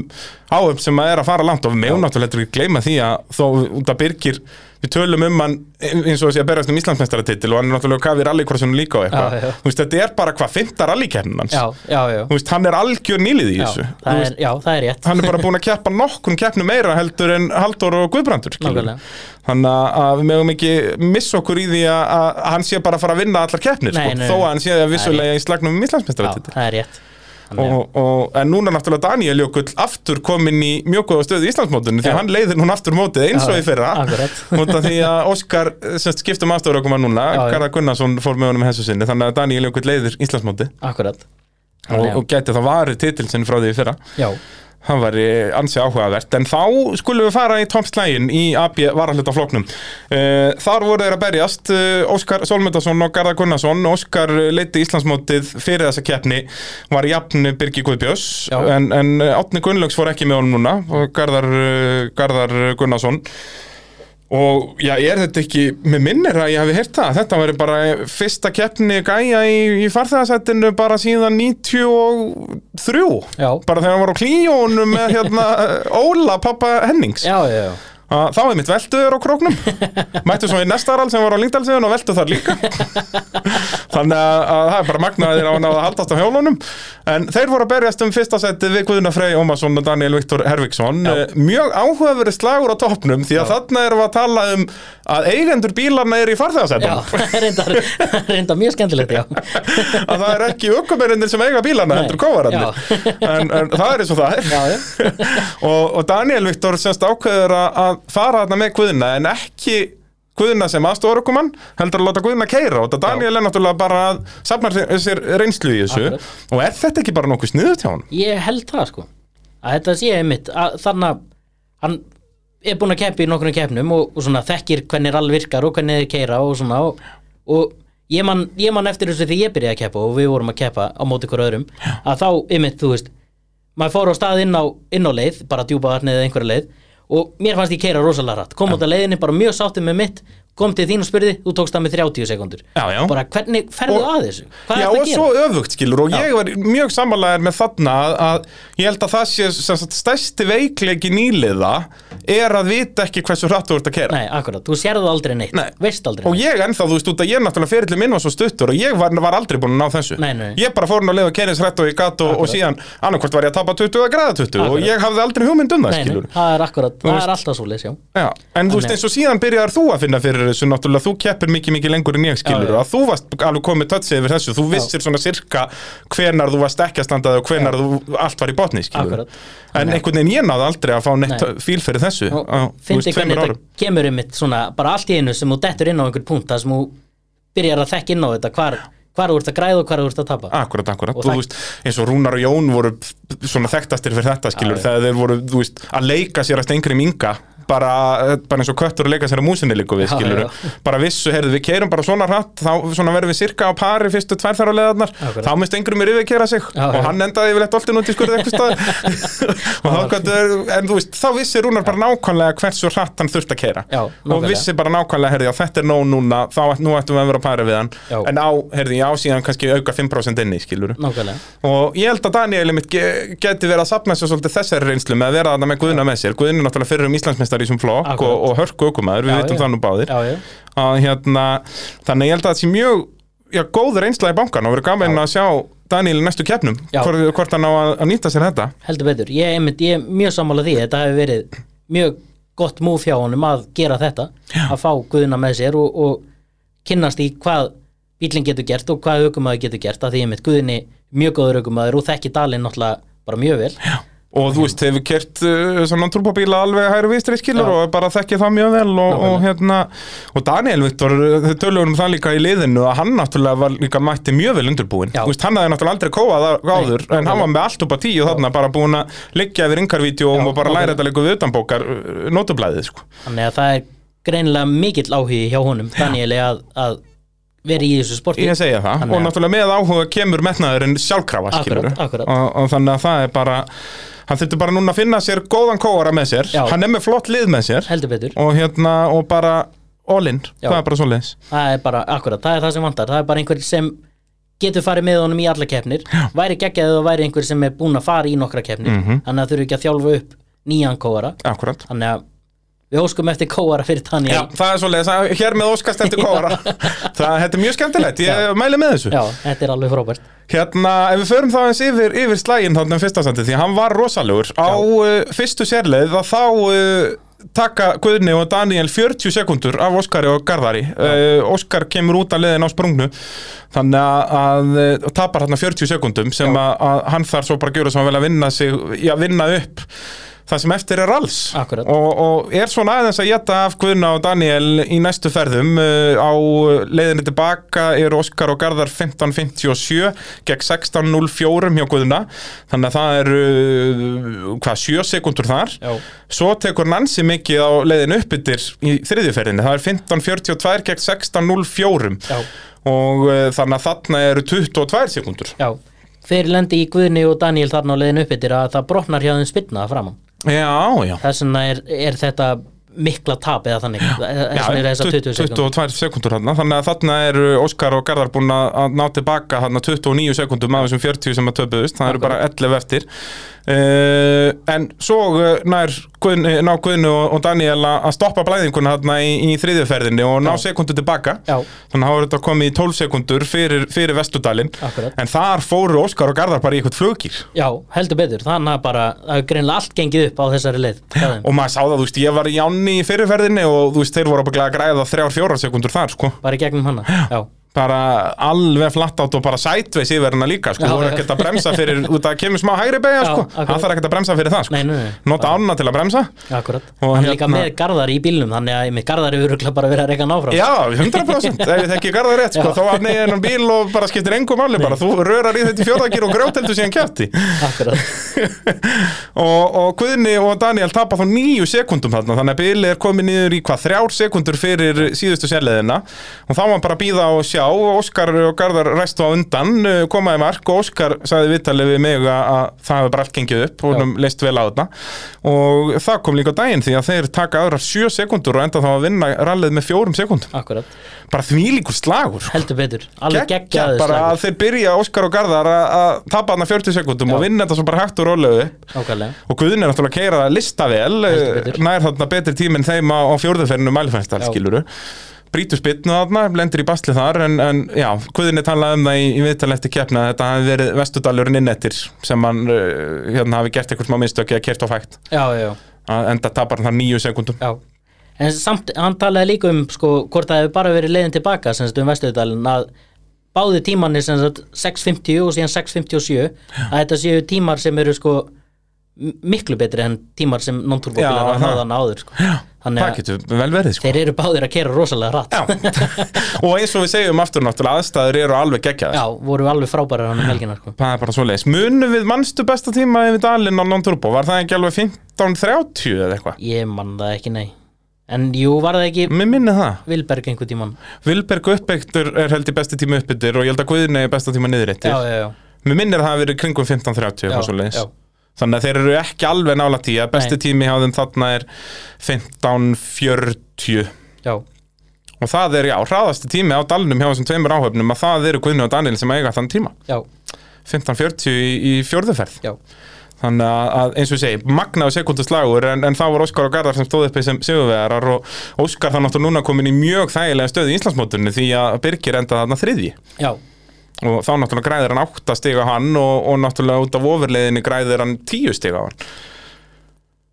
áöfn sem að er að fara langt og við meðum náttúrulega heldur ekki gleyma því að þó út að Birgir, við tölum um hann eins og þessi að berast um Íslandsmestaratitil og hann er náttúrulega kafið rallycrossinu líka og eitthvað
Já, já.
Þú veist, þetta er bara hvað fymta rallykernin hans
já, já, já,
Þú veist, hann er algjör nýlið í
já,
þessu Þú
það
veist,
er, já, það er rétt
Hann er bara búin að keppa nokkrum keppnum meira heldur en Halldór og Guðbrandur skilur.
Nákvæmlega.
Þannig að- að við meðum ekki missa okkur í því að, að að hann sé bara að fara að vinna allar keppnir
Nei,
sko,
nei,
þó
nei.
að hann sé að vissulega í slagnum um
já,
Íslandsmestaratitil
það er rétt Þannig að-
og, og, en núna er náttúrulega Daniel Jökull aftur kominn í mjög góða stöðu í Íslandsmótinu því að hann leiðir núna aftur mótið eins og
Já,
í fyrra
akkurat.
[laughs] út af því að Óskar semst, skiptum aftur um okkur núna,
Já, já.
Garðar Gunnarsson fór með honum í hessu sinni, þannig að Daniel Jökull leiðir Íslandsmótið
akkurat
og,
Þannig að-
og gæti það varið titil sinni frá því í fyrra
já,
hann var ansi áhugavert en þá skulum við fara í toppslægin í AB varahluta flóknum þar voru þeir að berjast eh, Óskar Solmundarsson og Garðar Gunnarsson Óskar leiti Íslandsmótið fyrir þessa keppni var jafn Birgi Guðbjörns
Já.
en, en Átni Gunnlaugs fór ekki með honum núna og Garðar, eh, Garðar Gunnarsson Og já, er þetta ekki, með minnir að ég hefði heyrt það, þetta væri bara fyrsta keppni gæja í, í farþegasettinu bara síðan 93,
Já.
bara þegar hann var á klíónum með
[laughs]
hérna Óla, pappa Hennings.
já, já, já
Að, þá er mitt velduður á
[laughs]
króknum, mættu svo í Nestaral sem var á Língdalsviðun og veldu þar
[laughs]
líka. Þannig að, að það er bara magnaðir á hann að haldast á hjólunum. En þeir voru að berjast um fyrsta setið við Guðuna Frey Ómarsson og Daniel Viktor Herviksson.
Já.
Eh, Mjög áhugaverið slagur á toppnum því að
Já.
þarna erum við að tala um að eigendur bílarna eru í
Já,
farþegasettum.
það er reyndar, það er [laughs] reyndar mjög skemmtilegt, já.
að það er ekki ökumerindir sem eiga bílana
Nei.
heldur kóvararnir en, en það er eins og það er
Já, já.
[laughs] og, og Daniel Viktor semst ákveður að að fara þarna með Guðna en ekki Guðna sem aðstofar okkur mann heldur að láta Guðna keira og þetta Daniel er náttúrulega bara að safna sér reynslu í þessu
Akkurat.
og er þetta ekki bara nokkuð sniðut hjá hann?
Ég held það, sko. Að þetta sé einmitt, að þannig að hann er búinn að keppa í nokkurnum keppnum og, og svona þekkir hvernig all virkar og hvernig þeir keira og svona og, og ég man, ég man eftir þessu því ég byrjaði að keppa og við vorum að keppa á móti ykkur öðrum að þá, einmitt, þú veist, maður fór á stað inn á, inn á leið, bara djúpa vatnið eða einhverja leið og mér fannst ég keira rosalega rætt, kom út að leiðinni bara mjög sáttið með mitt, kom til þín og spurði, þú tókst það með 30 sekundur.
Já, já.
Bara hvernig ferðu
Og-
að þessu? Hvað
Já,
er þetta
og
að gera?
svo öfugt, skilur, og ég var mjög sammálaðir með þarna að, að ég held að það sé sem sagt, stærsti veikleiki nýliða er að vita ekki hversu hratt þú ert að kera.
Nei, akkurat, þú sérðu aldrei neitt,
Nei.
veist aldrei
Og
neitt
ég ennþá, þú veist, út að ég náttúrulega ferillin minn var svo stuttur og ég var, var aldrei búinn að ná þessu.
Nei, nei.
Ég bara fór hann að leiða kerins hrætt og ég gatt og, og
Akkurat.
síðan annarkvort var ég að tapa 20 að græða 20
Akkurat.
og ég hafði aldrei hugmynd um það,
Nei,
skilur.
nei, það er akkurat, það
veist-
er alltaf svo já
Já, en þú veist
Þannig-
eins og síðan byrjar þú að finna fyrir þessu náttúrulega, þú keppir mikið mikið lengur en ég skilur
Já, já.
að þú varst alveg komið tötsið yfir þessu, þú vissir svona sirka hvenar þú varst ekki að standa þig og hvenar þú allt var í botni skilur
Akkurat.
en einhvern veginn ég náði aldrei að fá neitt
Nei.
fíl fyrir þessu á, þú
Fyndi
veist,
hvernig
tveimur
þetta
árum
kemur um mitt svona, bara allt í einu sem þú dettur inn á einhvern punkt þar sem þú byrjar að þekka inn á þetta hvar, hvar þú ert að græða og hvar þú ert að tapa
Akkurat, akkurat,
Og
og þú
það-
veist, eins og Rúnar og Jón voru svona þekktastir fyrir þetta skilur
Já, já.
þegar þeir voru, þú veist, að leika sér að stengri minga bara, bara eins og köttur að leika sér að músinni líku við
Já,
skilur
já.
bara vissu, heyrðu, við keirum bara svona hratt þá svona verðum við sirka á pari fyrstu tvær þar á leðarnar
Akkurat.
þá minnst einhverjum er yfir að kera sig
Já,
og
já.
hann endaði yfirleitt oltin út í skurði eitthvað stað
[laughs]
[laughs] og þá gætur, en þú veist, þá vissi Rúnar bara nákvæmlega hversu hratt hann þurft að keira
Já,
og
nákvæmlega.
vissi bara nákvæmlega, heyrðu, já, þetta er nóg núna þá ætt- nú ættum við að vera að pari við hann
Já.
en á, heyrðu, já, síðan kannski auka 5% inni, skilur
Nákvæmlega,
og ég held að Daniel mitt geti verið að sapna sér svolítið þessari reynslu með að vera þarna með Guðna með sér Guðna er náttúrulega fyrir um Íslandsmeistar í þessum flokk og,
Akkurat.
og hörku aukumæður, við
Já,
vitum
já.
það nú báðir
já, já,
að hérna, þannig ég held að það sé mjög já, góð reynsla í bankan og verið gaman að sjá Daniel í næstu keppnum
Já.
hvort, hvort hann á að, að nýta sér þetta
heldur betur Ég, einmitt, ég er mjög sammála því, þetta hefur verið mjög gott múf hjá honum að gera þetta að fá guðuna með sér og, og kynnast í hvað bílinn getur gert og hvað aukumæður getur gert að því einmitt guðinni mjög góður aukumæður og þekki dalinn náttúrulega bara mjög vel Já
og þú veist, hefur kert uh, svona trúpabíla alveg hægri vistri skilur
Já.
og bara þekki það mjög vel og, og hérna, og Daniel Vittor þau tölugur um það líka í liðinu að hann náttúrulega var líka mætti mjög vel undirbúin
Já.
þú veist, hann hafði náttúrulega aldrei kóað það áður
Nei,
en hann var með allt upp á tíu þarna bara búin að liggja yfir yngarvídeóum
Já,
og bara
nákvæmlega.
læra þetta líka við utanbókar notublaðið sko.
Þannig að það er greinilega mikill áhugi hjá honum, Danieli, að, að vera í þessu sporti.
ég segja það,
Þannig
og
að-
náttúrulega með áhuga kemur metnaðurinn sjálfkrafa skilur
Akkurat, akkurat.
Og, og þannig að það er bara hann þurfti bara núna að finna sér góðan kóara með sér
Já.
hann er með flott lið með sér
Heldur betur.
og hérna og bara all in,
Já.
það er bara svoleiðis
Það er bara, akkurat, það er það sem vantar. Það er bara einhver sem getur farið með honum í alla keppnir væri geggjað eða væri einhver sem er búinn að fara í nokkra keppnir þannig að þurfi ekki að þjálfa upp nýjan kóara
Akkurat
þannig að við óskum eftir kóara fyrir Daniel
Já, það er svolítið, hér með óskast eftir
[laughs]
kóra Það, þetta er mjög skemmtilegt, ég mæli með þessu
Já, þetta er alveg frábært
Hérna, ef við förum þá eins yfir, yfir slægin þannig um fyrsta sandi, því hann var rosalegur á uh, fyrstu sérleið að þá uh, taka Guðni og Daniel 40 sekundur af Óskari og Garðari uh, Óskar kemur út af leiðin á sprungnu þannig að, að uh, tapar hann 40 sekundum sem að, að hann þarf svo bara að gjöra sem hann vel að vinna, sig, já, vinna upp það sem eftir er alls
Akkurat.
og, og er svona aðeins að geta af Guðna og Daniel í næstu ferðum uh, á leiðinni tilbaka eru Óskar og Garðar 15.57 gegn 16.04 hjá Guðna þannig að það eru uh, hvað, 7 sekundur þar
Já.
svo tekur Nancy mikið á leiðin uppbyttir í þriðju ferðinni, það er 15.42 gegn 16.04
Já.
og uh, þannig að þarna eru 22 sekundur
Já, þeir lendi í Guðni og Daniel þarna á leiðin uppbyttir að það brotnar hjá þeim spilna framum
Já, já
þess vegna er, er þetta mikla tap eða þannig þess vegna er þess að 20 sekund
22 sekundur hann, þannig að þarna eru Óskar og Garðar búin að að ná tilbaka hann 29 sekundum af þessum 40 sem að töpuðust, það eru bara 11 eftir uh, en svo uh, nær Guðni, ná Guðnu og, og Daniel að að stoppa blæðinguna hann í, í þriðjuferðinni og ná sekundu tilbaka
Já.
þannig að það voru þetta komið í 12 sekundur fyrir, fyrir Vestudalinn,
Akkurat.
en þar fóru Óskar og Garðar bara í eitthvað flugir
Já, heldur betur, þannig að bara það er greinlega allt gengið upp á þessari leið hjá þeim.
og maður sá það, þú veist, ég var í áni í fyrirferðinni og þú veist, þeir voru ábyggilega að græða þrjár, fjórar sekundur þar, sko
bara í gegnum hana Já,
bara alveg flatt átt og bara sætveis yfir hennar líka sko,
Já,
þú voru
já.
ekkert að bremsa
[laughs]
fyrir út að kemur smá hægri beigja
Já,
sko,
akkurat.
hann þarf ekkert að bremsa fyrir það sko
Nei, nei, nei.
nota ána til að bremsa
akkurat
Og
Hann er líka
hérna-
með Garðar í bílnum þannig að með Garðar er öruglega bara verið að reyka náfram
já, 100% ef ég þekki garða rétt sko,
Já.
þá var neginn hennar bíl og bara skiptir engum máli bara, þú rörar í þetta fjórðagir og grjóteldu síðan kjæfti
Akkurat,
[laughs] og, og Guðni og Daniel tapa þá nýju sekundum þarna, þannig að bíl er komið niður í hvað þrjár sekundur fyrir síðustu sérleðina og þá var bara að býða og sjá og Óskar og Garðar ræstu á undan eh, komaði mark og Óskar sagði viðtalið við mig að, að það hefur bara allt gengið upp og honum leist vel á þetta og það kom líka á daginn því að þeir taka aðrar sjö sekundur og enda þá að vinna rallið með fjórum sekundum
akkurat
bara þvílíkur slagur sko.
Heldur betur, alveg
Gekkja
geggjaður
bara
slagur
að þeir byrja Óskar og Garðar að- að tapa hana 40 sekundum
Já.
og vinna þetta svo bara hægt og rólega upp
Nákvæmlega
Og Guðin er náttúrulega að keira listavel
Heldur betur.
eh, Nær þarna betri tími en þeim á, á fjórðuferinu mælfænstal
Já.
skiluru Brýtur spytnu þarna, lendir í basli þar En, en já, Guðin er talað um það í, í viðtal eftir keppna að Þetta hafi verið vestudalurinn innettir Sem hann uh, hérna, hafi gert eitthvað smá minnstöki að kert á fægt
Já, já, já
Að Enda tapar hann þar nýju sekundum
Já, en samt, hann talaði líka um sko, hvort það hefur bara verið leiðin tilbaka sem sagt um Vesturðalinn að báði tímanir sem sagt 6.50 og síðan 6.57 að þetta séu tímar sem eru sko m- miklu betri en tímar sem
Já,
non-turbókilar
það.
náðu hann áður sko. þannig
Það
að
getur vel verið sko
þeir eru báðir að kera rosalega hratt
Já, [laughs] og eins og við segjum aftur náttúrulega aðstæður eru alveg geggjaðar
Já, voru alveg frábærar hann um helginar sko.
Það er bara svo leiðis Munum við mannstu besta tíma yfir dalinn á non-turbo Var það ekki alveg 15.30 eða eitthvað?
ég man það ekki nei en jú, var það ekki
Mér minni það
Vilberg einhver tíman
Vilberg uppbyggtur er held í besti tíma uppbyttur og ég held að Guðni er besta tíma niðurettir
já, já, já,
Mér minnir að það hafi verið kringum 15.30
já,
eitthvað svoleiðis.
já,
Þannig að þeir eru ekki alveg nála tí að besti
Nei.
tími hjá þeim þarna er 15.40
já,
og það er já, hraðasti tími á dalnum hjá þessum tveimur áhöfnum að það eru Guðni og Daniel sem eiga þann tíma
já,
15.40 í, í fjórðuferð
já.
Þannig að, að eins og ég segi, magnaðu sekundu slagur en, en þá var Óskar og Garðar sem stóð uppi sem sigurvegarar og Óskar þannig að núna komin í mjög þægilega stöð í Íslandsmótunni því að Birgir enda þarna þriðji
já.
og þá náttúrulega græðir hann átta stig á hann og, og náttúrulega út af ofurleiðinni græðir hann tíu stig á hann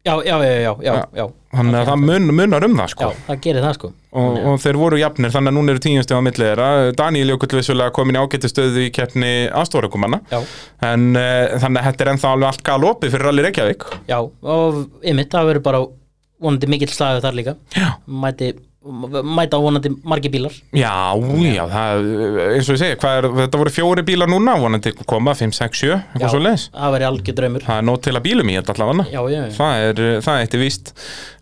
Já, já, já, já, já, já.
þannig að það mun, munar um það sko
Já, það gerir það sko
og, og þeir voru jafnir þannig að núna eru tíu stig á milli þeirra Daniel Jökull vissulega komin í ágættu stöðu í keppni aðstórekumanna
Já,
en uh, þannig að þetta er ennþá alveg allt gal opið fyrir Rally Reykjavík
já, og ymmit, það verður bara vonandi mikill slagur þar líka
já
Mæti, mæta vonandi margi bílar
Já, já, það, eins og ég segi, hvað er, þetta voru fjóri bílar núna, vonandi koma, 5, 6, 7, eitthvað svo leiðis.
það verður algjör draumur Já,
Það er nót til að bílum í þetta allavega.
já, já
Það er, eh, það er eitt í víst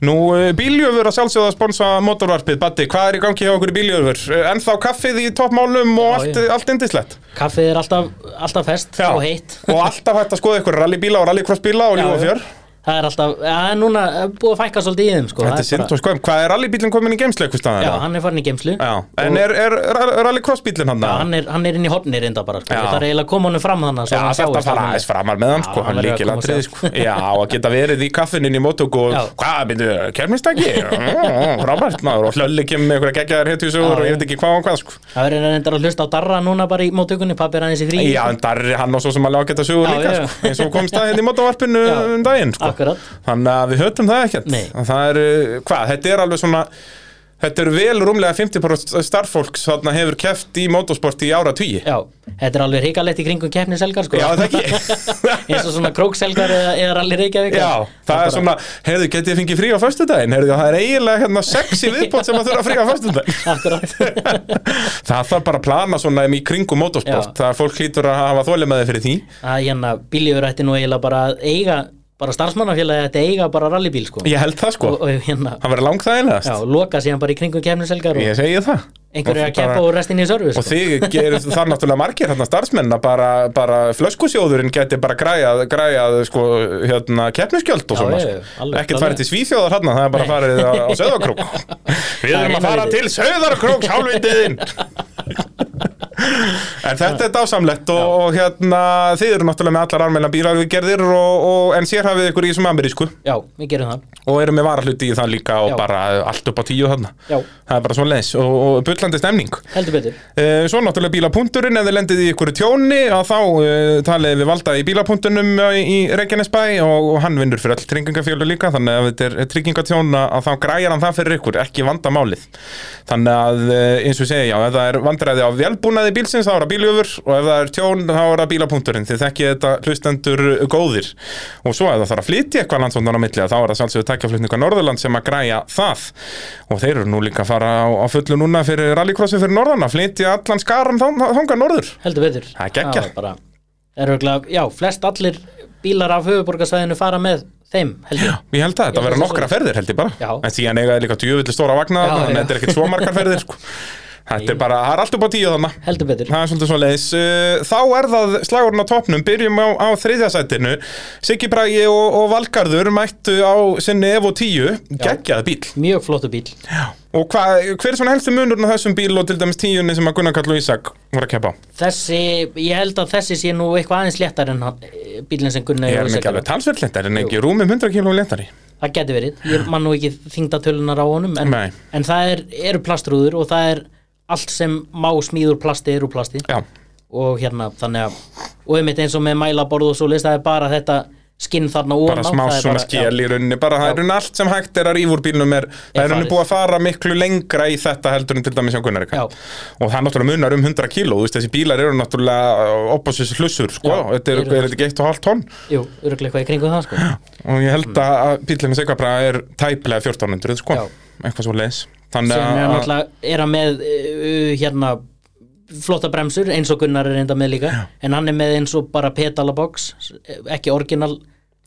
Nú, eh, bíljöfur að sjálfsögða að sponsa motorvarpið Batti, hvað er í gangi hjá okkur í bíljöfur? Eh, Ennþá kaffið í toppmálum og
Já,
allt, allt indislegt
Kaffið er alltaf, alltaf fest og heitt
[laughs] Og alltaf hægt að skoða ykkur rallybíla og rallycrossbíla og
Já,
ljúfafjör
já. það er alltaf, það er núna búið að fækka svolítið í þeim sko
Þetta er
það
synd og skoðum, hvað er rallybílinn komin í geimslu eitthvað
bara- Já,
staðan?
hann er farin í geimslu
Já, en er, er, er rallycrossbílinn hann?
Já, hann er, hann er inn í hopni reynda bara sko.
Já.
Það er eiginlega að koma honum fram þannig
Já, þetta fara aðeins framar með hann,
Já,
sko, hann
hann verður að
líkil
koma
atrið,
sér.
sko. Já, að geta verið í kaffininn í móttöku og,
Já.
hvað, myndu, kemistæki? Robert, maður, og hlölli kemur með einhverja geggjaðar hetjusögur
Já,
og ég
já.
veit ekki hvað og hvað, sko.
Það er reyndar að hlusta á Darra núna bara í móttökunni Pappi er aðeins í frí
Já, en Darri, hann og svo sem alveg ágæta sögur
Já,
líka,
já.
sko, eins og komst að hérna í mótavarpinu
Já.
um daginn, sko.
Akkurat
Þannig að við höfum það ekkert.
Nei.
En Það er, uh, hvað, þetta er alveg svona, þetta er vel rúmlega 50% starffólk þarna hefur keft í motorsport í ára tugi.
Já, þetta er alveg hrikalegt í kringum keppniselgar sko
Já, það
[laughs]
ekki.
eins og svona krókselgar eða, eða rally Reykjavík
Já, það er svona, heyrðu, getið þið fengið frí á föstudaginn, heyrðu, það er eiginlega hérna sexi viðbót sem að þurfa frí á föstudaginn.
[laughs] Akkurat
Það þarf bara að plana svona í kringum motorsport,
Já.
það er fólk hlýtur að hafa þólimaði fyrir því.
að hérna bíljöfur ætti nú eiginlega bara að eiga bara starfsmannafélagi ætti að eiga bara rallybíl sko
Ég held það sko,
og, og hérna
hann verður
já,
langþægilegast,
loka síðan bara í kringum kemniselgar og
ég segi það.
einhverju
Og
að keppa
bara-
og restin í service
Og
sko.
þið gerir það náttúrulega margir hérna starfsmenn að bara, bara flöskusjóðurinn geti bara græjað, græjað sko, hérna, keppniskjöld og
Já,
svona.
já,
sko.
já, alveg,
Ekkert
alveg.
farið til Svíþjóðar hérna, það er bara farið á,
[laughs]
á Söðarkrók. Við
Það er
erum að
eina
fara
vitið.
til Söðarkrók, hálfvitiðinn. En þetta er dásamlegt og, og hérna, þið eru náttúrulega með allar armælna bílar við gerðir og, og, en sér hafið ykkur í þessum amerísku
já, við gerum það
og eru með varahluti í það líka og
Já.
bara allt upp á tíu þarna.
Já.
Það er bara svona leins og, og bullandi stemning.
heldur betur
Eh, Svo náttúrulega bílapunkturinn, ef þið lendið í ykkur tjóni að þá uh, talið við valda í bílapunktunum eh, í, í Reykjanesbæ og, og hann vinnur fyrir all tryggingafjölu líka þannig að ef þetta er tryggingatjón að, að þá græjar hann það fyrir ykkur, ekki vanda málið þannig að eh, eins og ég segi já, ef það er vandræði á velbúnaði bílsins þá er það bíljöfur og ef það er tjón þá er það bílapunkturinn, þið þekkið þetta hlustendur eh, góðir og svo ef það þarf að flytja eitthvað landsvöndan á milli þá er það sjálfsögur takkjaflutninga Norðurland sem að græja það og þeir eru nú líka að fara á, á fullu núna fyrir rallycrossi fyrir norðan að flytja allan skaran þang- þangað norður
heldur betur
Það er geggjað.
er bara er örgulega já, flest allir bílar af höfuborgarsvæðinu fara með þeim heldur já
Ég held að þetta
Ég
verða
held að
nokkra
svo.
ferðir held ég bara
Já.
En síðan eiga þeir líka djöfulli stóra vagna
Já,
þarna, Þannig
já.
að þetta er ekkert svo margar ferðir
[laughs]
sko. Þetta er bara, það er allt upp á tíu þannig
heldur betur
Það er svolítið svo leiðis. Þá er það slagurinn á topnum, byrjum á, á þriðjasætinu. Siggi Bragi og, og Valgarður mættu á sinni Evo 10, geggjað bíl.
mjög flottu bíl
Og hva, hver er svona helstu munurinn á þessum bíl og til dæmis tíunni sem að Gunnar Karl og Ísak voru að keppa á?
þessi ég held að þessi sé nú eitthvað aðeins léttar en hann- eh, bílinn sem Gunnar
Ég er
Jóhannes
mikið
er
alveg talsvöld lendari, en ekki rúmum 100 kg lendari.
Það geti verið, ég man nú ekki þingdatölunar á honum en,
Nei.
en það er, eru plastrúður og það er allt sem má smíður plasti er úr plasti
Já,
og hérna þannig að og einmitt eins og með mælaborð og svo list það er bara þetta skinn þarna
bara
ofan á,
smá
það er
svona
bara-
skél í rauninni, bara það er rauninni allt sem hægt er að rífa úr bílnum er, það er rauninni
farið.
búið að fara miklu lengra í þetta heldur en til dæmis hjá Gunnar Karl.
Já.
og það náttúrulega munar um 100 kíló þú veist, þessi bílar eru náttúrulega opposins hlussur sko,
Já,
þetta er,
eru
er þetta ekki 1,5 tonn
Já, jú, örglega eitthvað í kringum það sko
og ég held að að bílum með segja bara er tæplega 1400 sko,
Já.
eitthvað svo leis þannig
sem er
að
náttúrulega er hann með uh, hérna flotta bremsur eins og Gunnar er reynda með líka en hann er með eins og bara pedalabox ekki orginal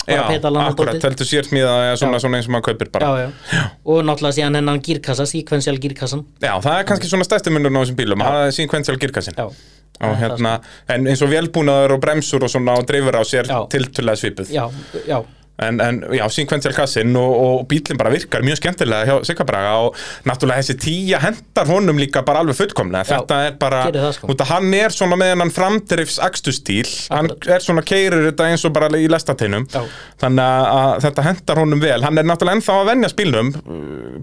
bara pedalana
akkurat, heldur sér smíða eða svona,
Já.
svona eins og maður kaupir bara
já,
já.
já. og náttúrulega síðan hennan gírkassa, sequential gírkassan
það er kannski svona stærsti munur á þessum bílum, það er sequential girkassin
já,
og hérna, en eins og vélbúnaður og bremsur og svona og dreifur á sér
sko. Já.
tiltulega svipuð
já, já,
En, en já, sequential kassin og, og bílinn bara virkar mjög skemmtilega hjá Sigga Braga og náttúrulega þessi tíja hendar honum líka bara alveg fullkomlega
Já,
þetta er bara,
gerir það, sko.
út að hann er svona með hennan framdrifs akstustýl hann
Akkurat.
er svona keirir þetta eins og bara í lestateinum
Já.
þannig að, að þetta hendar honum vel hann er náttúrulega ennþá að venja spilnum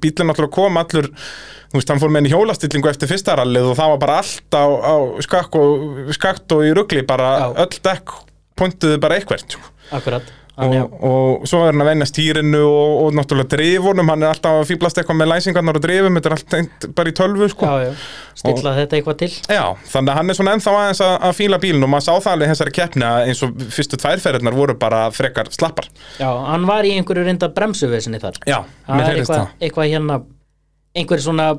bílinn náttúrulega kom allur þú veist, hann fór með henni hjólastillingu eftir fyrsta rallið og það var bara allt á, á skakk og, skakt og í rugli bara
Já.
öll dekk pointuðu bara eitthvert sko
akkurat hann, já,
og, og svo er hann að venja stýrinu og, og náttúrulega drifunum, hann er alltaf að fýblast eitthvað með læsingarnar og drifum, þetta er allt tengt bara í tölvu sko.
já, já, stilla þetta eitthvað til
Já, þannig að hann er svona ennþá aðeins að, að fíla bílinn og maður sá það alveg í þessari keppni að eins og fyrstu tværferðirnar voru bara frekar slappar.
já, hann var í einhverju reynda bremsuvesinni þar
Já,
það
mér
er
heyrðist
eitthvað,
það.
eitthvað hérna einhver svona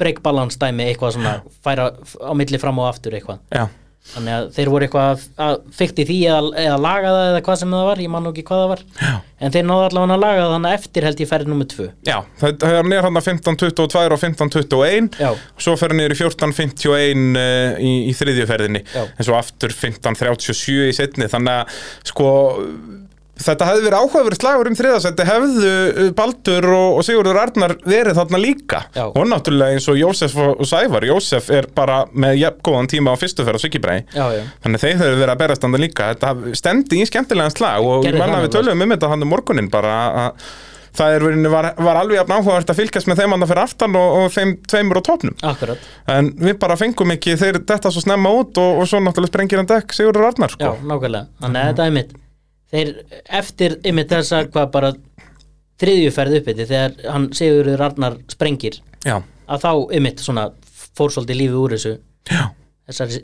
break balance dæmi eitthvað svona færa f- á milli fram og aftur eitthvað
Já,
þannig að þeir voru eitthvað að- að fykti því eða, eða laga það eða hvað sem það var ég man nú ekki hvað það var
Já.
en þeir náðu allavega að laga það þannig að eftir held ég ferði nummer 2
já, það er hann er hann að 15.22 og 15.21
já,
Svo fer hann niður í 14.51 uh, í, í þriðju ferðinni
Já.
en svo aftur 15.37 í setni þannig að sko Þetta hefði verið áhugaverið slagur um þriðasætti hefðu uh, Baldur og, og Sigurður Arnar verið þarna líka
Já.
og náttúrulega eins og Jósef og, og Sævar Jósef er bara með jafn góðan tíma á fyrstu ferð á Svikibræði
Já, já.
þannig að þeir höfðu verið að berast þarna líka þetta haf- stendi í skemmtilegan slag og
Gerði
ég manna
það
við töluðum um þetta hann um morgunin bara að það er, verið- var, var alveg jafn áhugavert að fylgjast með þeim hann fyrir aftan og, og þeim tveimur á topnum
akkurat
en við bara fengum ekki þeir þetta svo snemma út og, og svo náttúrulega sprengir hann dekk Sigurður Arnar
Já,
sko.
nákvæmlega, þannig að þetta er mitt Þeir, eftir einmitt þessa hvað bara þriðju ferð uppbytti þegar hann Sigurður Arnar sprengir
Já.
að þá einmitt svona fór svolítið lífið úr þessu
Já.
Þessari,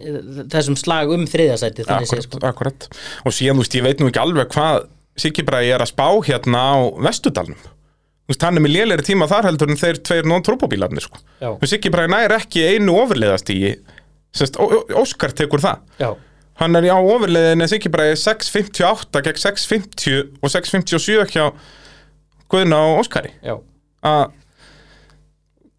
þessum slag um þriðasæti þannig sé
Akkurat,
sko
akkurat og síðan þú veist ég veit nú ekki alveg hvað Siggi Bræði er að spá hérna á Vestudalnum þú veist hann er með lélegri tíma þar heldur en þeir tveir nón trópabílarnir sko
Já.
og Siggi Bræði nær ekki einu ofurleiðast í sérst, Ó- Ó- Óskar tekur það
Já,
hann er á ofurleiðinni Siggi Bræði 6.58 gegn 6.50 og 6.57 hjá Guðna og Óskari
já,
að